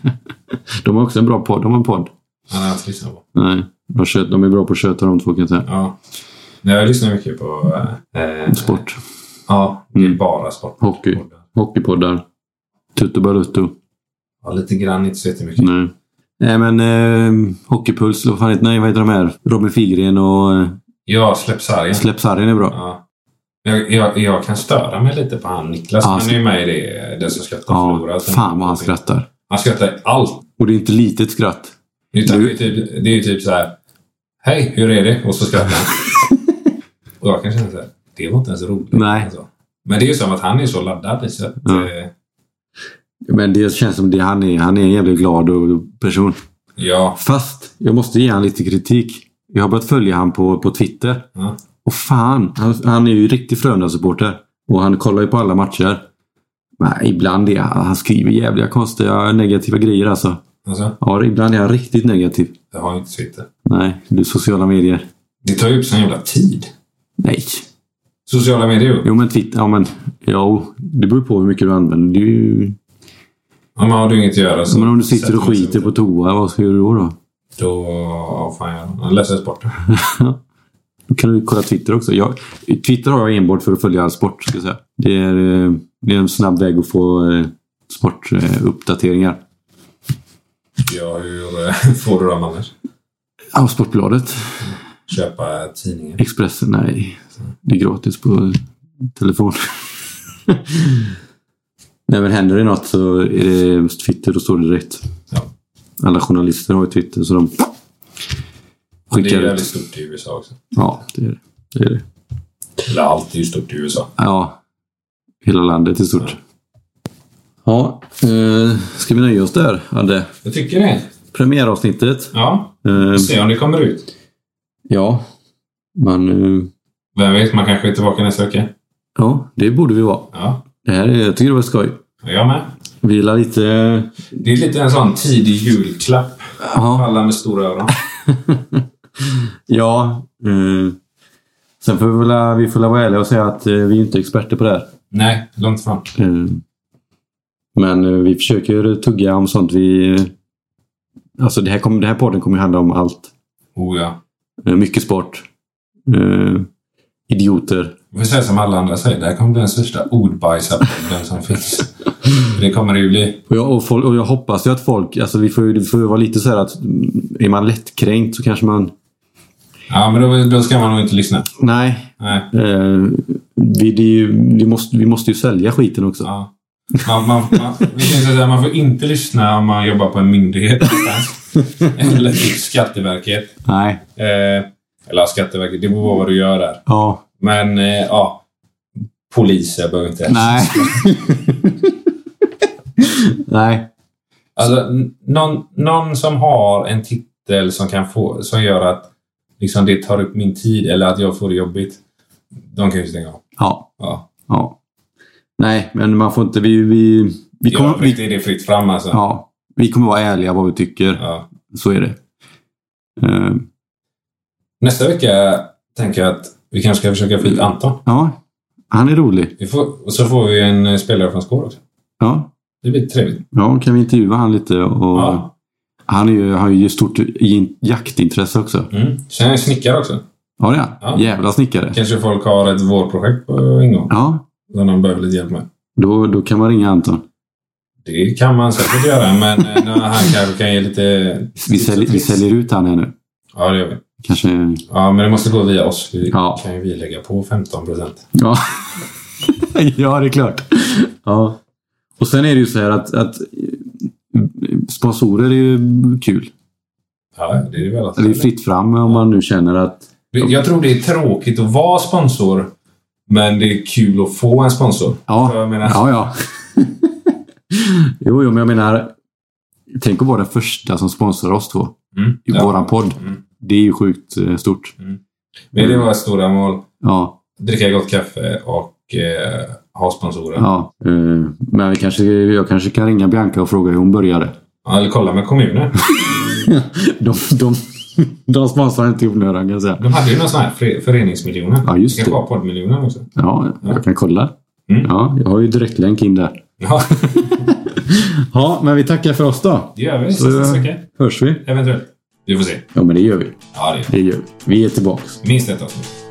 S1: [LAUGHS] de har också en bra podd. De har en podd.
S2: Han har jag inte lyssnat på.
S1: Nej, de, kö- de är bra på att köta de två kan jag säga.
S2: Ja. Nej, jag lyssnar mycket på... Eh,
S1: Sport.
S2: Ja, det är
S1: Mm.
S2: bara sport.
S1: Hockey. Hockeypoddar. Tutu Balutto.
S2: Ja, lite grann, inte så jättemycket.
S1: Nej. Nej men eh, Hockeypuls, vad fan heter, nej, vad heter de här? Robin Figren och eh,
S2: Ja, släpp sargen.
S1: Släpp sargen är bra.
S2: Ja. Jag, jag, jag kan störa mig lite på han Niklas.
S1: Ja,
S2: han är ju med i det, den som skrattar
S1: Ja,
S2: förlorar. Sen-
S1: fan vad han skrattar.
S2: Han skrattar allt.
S1: Och det är inte litet skratt. [LAUGHS]
S2: Utan det, är ju typ, det är ju typ så här. Hej, hur är det? Och så skrattar han. och jag kan känna så här. Det var inte ens roligt.
S1: Nej.
S2: Alltså. Men det är ju som att han är så laddad. Så att,
S1: Ja.
S2: eh,
S1: Men det känns som det han är. Han är en jävligt glad och- person.
S2: ja.
S1: Fast jag måste ge han lite kritik. Jag har börjat följa han på, på Twitter.
S2: Ja.
S1: Och fan, han, han är ju riktig Frölunda-supporter. Och han kollar ju på alla matcher. Men ibland är han, han skriver jävliga konstiga negativa grejer alltså.
S2: Alltså,
S1: Ja, ibland är han riktigt negativ.
S2: det har ju inte Twitter.
S1: Nej, det är sociala medier.
S2: Det tar ju upp sån jävla tid.
S1: Nej.
S2: Sociala medier.
S1: Jo men Twitter, ja men. Jo, det beror på hur mycket du använder. Det är ju
S2: Ja, men har du inget att göra så...
S1: Ja, men om du sitter
S2: sätter
S1: och
S2: man sig
S1: skiter
S2: vid
S1: på
S2: det.
S1: toa, vad ska du då? Då,
S2: Då... Ja, fan, jag läser sporten.
S1: då kan du kolla Twitter också. Jag, Twitter har jag enbart för att följa all sport. Ska jag säga. Det, är, eh, det är en snabb väg att få eh, sportuppdateringar.
S2: Ja, hur eh, [LAUGHS] får du dem annars?
S1: Ja, Sportbladet,
S2: Köpa tidningen.
S1: Expressen, nej. Det är gratis på telefon. [LAUGHS] nej men händer det något så är det Twitter, då står det direkt.
S2: Ja.
S1: Alla journalister har ju Twitter så de
S2: Det är
S1: skickar
S2: jävligt
S1: ut.
S2: stort i USA också.
S1: Ja, det är det. det, är det.
S2: Eller allt är ju stort i USA.
S1: Ja, hela landet i stort. Ja, eh, ska vi nöja oss där, Adde?
S2: Jag tycker det.
S1: Premiäravsnittet.
S2: Ja,
S1: Eh,
S2: vi får se om det kommer ut.
S1: ja, men eh,
S2: Vem vet, man kanske är tillbaka nästa vecka.
S1: ja, det borde vi vara.
S2: Ja,
S1: Det här är, jag tycker det var skoj.
S2: jag med.
S1: Vila lite.
S2: Det är lite en sån tidig julklapp.
S1: Ja,
S2: Alla med stora öron.
S1: ja eh, sen får vi väl vi får väl vara ärliga och säga att eh, vi är inte experter på det här.
S2: Nej, långt fram.
S1: Eh, Men eh, vi försöker tugga om sånt vi... Alltså det här, kommer, det här podden kommer ju handla om allt.
S2: Oh ja.
S1: Eh, Mycket sport. Eh, idioter.
S2: Vi får säga som alla andra säger, det här kommer bli den största ordbajsarpodden som finns. För Det kommer det ju bli.
S1: Och jag, och, folk, och jag hoppas ju att folk... Alltså vi får ju vi får ju vara lite så här att mm, är man lättkränkt så kanske man...
S2: Ja, men då, då ska man nog inte lyssna.
S1: Nej.
S2: Nej.
S1: Eh, vi, det är ju, vi, måste, vi måste ju sälja skiten också.
S2: Ja. Man, man, man, vi kan ju säga, man får inte lyssna om man jobbar på en myndighet någonstans. Eller typ Skatteverket.
S1: Nej.
S2: Eh, eller Skatteverket, det beror på vad du gör där.
S1: Ja.
S2: Men eh, ja, poliser behöver
S1: [LAUGHS]
S2: inte...
S1: Nej. Nej.
S2: Alltså, n- någon, någon som har en titel som, kan få, som gör att liksom, det tar upp min tid eller att jag får det jobbigt. De kan ju stänga av.
S1: Ja.
S2: Ja.
S1: Ja. Nej, men man får inte... Vi, vi, vi,
S2: I
S1: kommer,
S2: övrigt
S1: vi,
S2: är det fritt fram alltså. Ja.
S1: ja, vi kommer vara ärliga vad vi tycker. Så är det. Eh,
S2: Nästa vecka tänker jag att vi kanske ska försöka få hit Anton.
S1: ja, han är rolig.
S2: Vi får, och så får vi en eh, spelare från Skåre också.
S1: Ja,
S2: Det blir trevligt.
S1: ja kan vi intervjua han lite? Och
S2: Ja.
S1: Han är ju, har ju stort i- jaktintresse också.
S2: Mm. Sen är jag snickare också.
S1: Ja, det är han.
S2: Ja.
S1: Jävla snickare.
S2: Kanske folk har ett vårprojekt på ingång
S1: Ja,
S2: som de behöver lite hjälp med.
S1: då, då kan man ringa Anton.
S2: Det kan man säkert göra, men eh, [LAUGHS] när han kanske kan ge lite...
S1: Vi,
S2: tips och
S1: sälj, vi
S2: tricks.
S1: säljer ut han här nu.
S2: Ja, det gör vi.
S1: Kanske...
S2: Ja, men det måste gå via oss. Vi
S1: Ja.
S2: kan ju vi lägga på 15 procent.
S1: Ja, [LAUGHS] ja det är klart. Ja. Och sen är det ju så här att, att eh, sponsorer är ju kul.
S2: Ja, det är väl att
S1: Det är fritt fram om man nu känner att...
S2: Jag tror det är tråkigt att vara sponsor, men det är kul att få en sponsor. För
S1: Ja,
S2: Jag menar,
S1: ja. ja. [LAUGHS] jo, jo, men jag menar... Tänk att vara den första som sponsrar oss två.
S2: mm,
S1: I våran podd.
S2: Mm.
S1: Det är ju sjukt eh, stort.
S2: Men det var stora mål.
S1: Ja,
S2: Dricka gott kaffe och eh, ha sponsorer. Ja.
S1: ja. Eh, Men vi kanske, jag kanske kan ringa Bianca och fråga hur hon började.
S2: Eller kolla med kommunen.
S1: De, de, [LAUGHS] de sponsrar inte i onödan kan jag säga.
S2: De hade ju någon sån här fre- föreningsmiljoner.
S1: Ja, just
S2: det. kanske
S1: det.
S2: var poddmiljoner också.
S1: Ja, jag kan kolla.
S2: Mm.
S1: Ja, jag har ju direktlänk in där.
S2: Ja,
S1: Ja, men vi tackar för oss då.
S2: det gör vi.
S1: Så-
S2: Sista veckan.
S1: Hörs vi?
S2: Eventuellt. Vi får se.
S1: Ja, men det gör vi.
S2: Ja, det gör
S1: Det gör vi. Vi är tillbaks.
S2: vi. Minst ett avsnitt.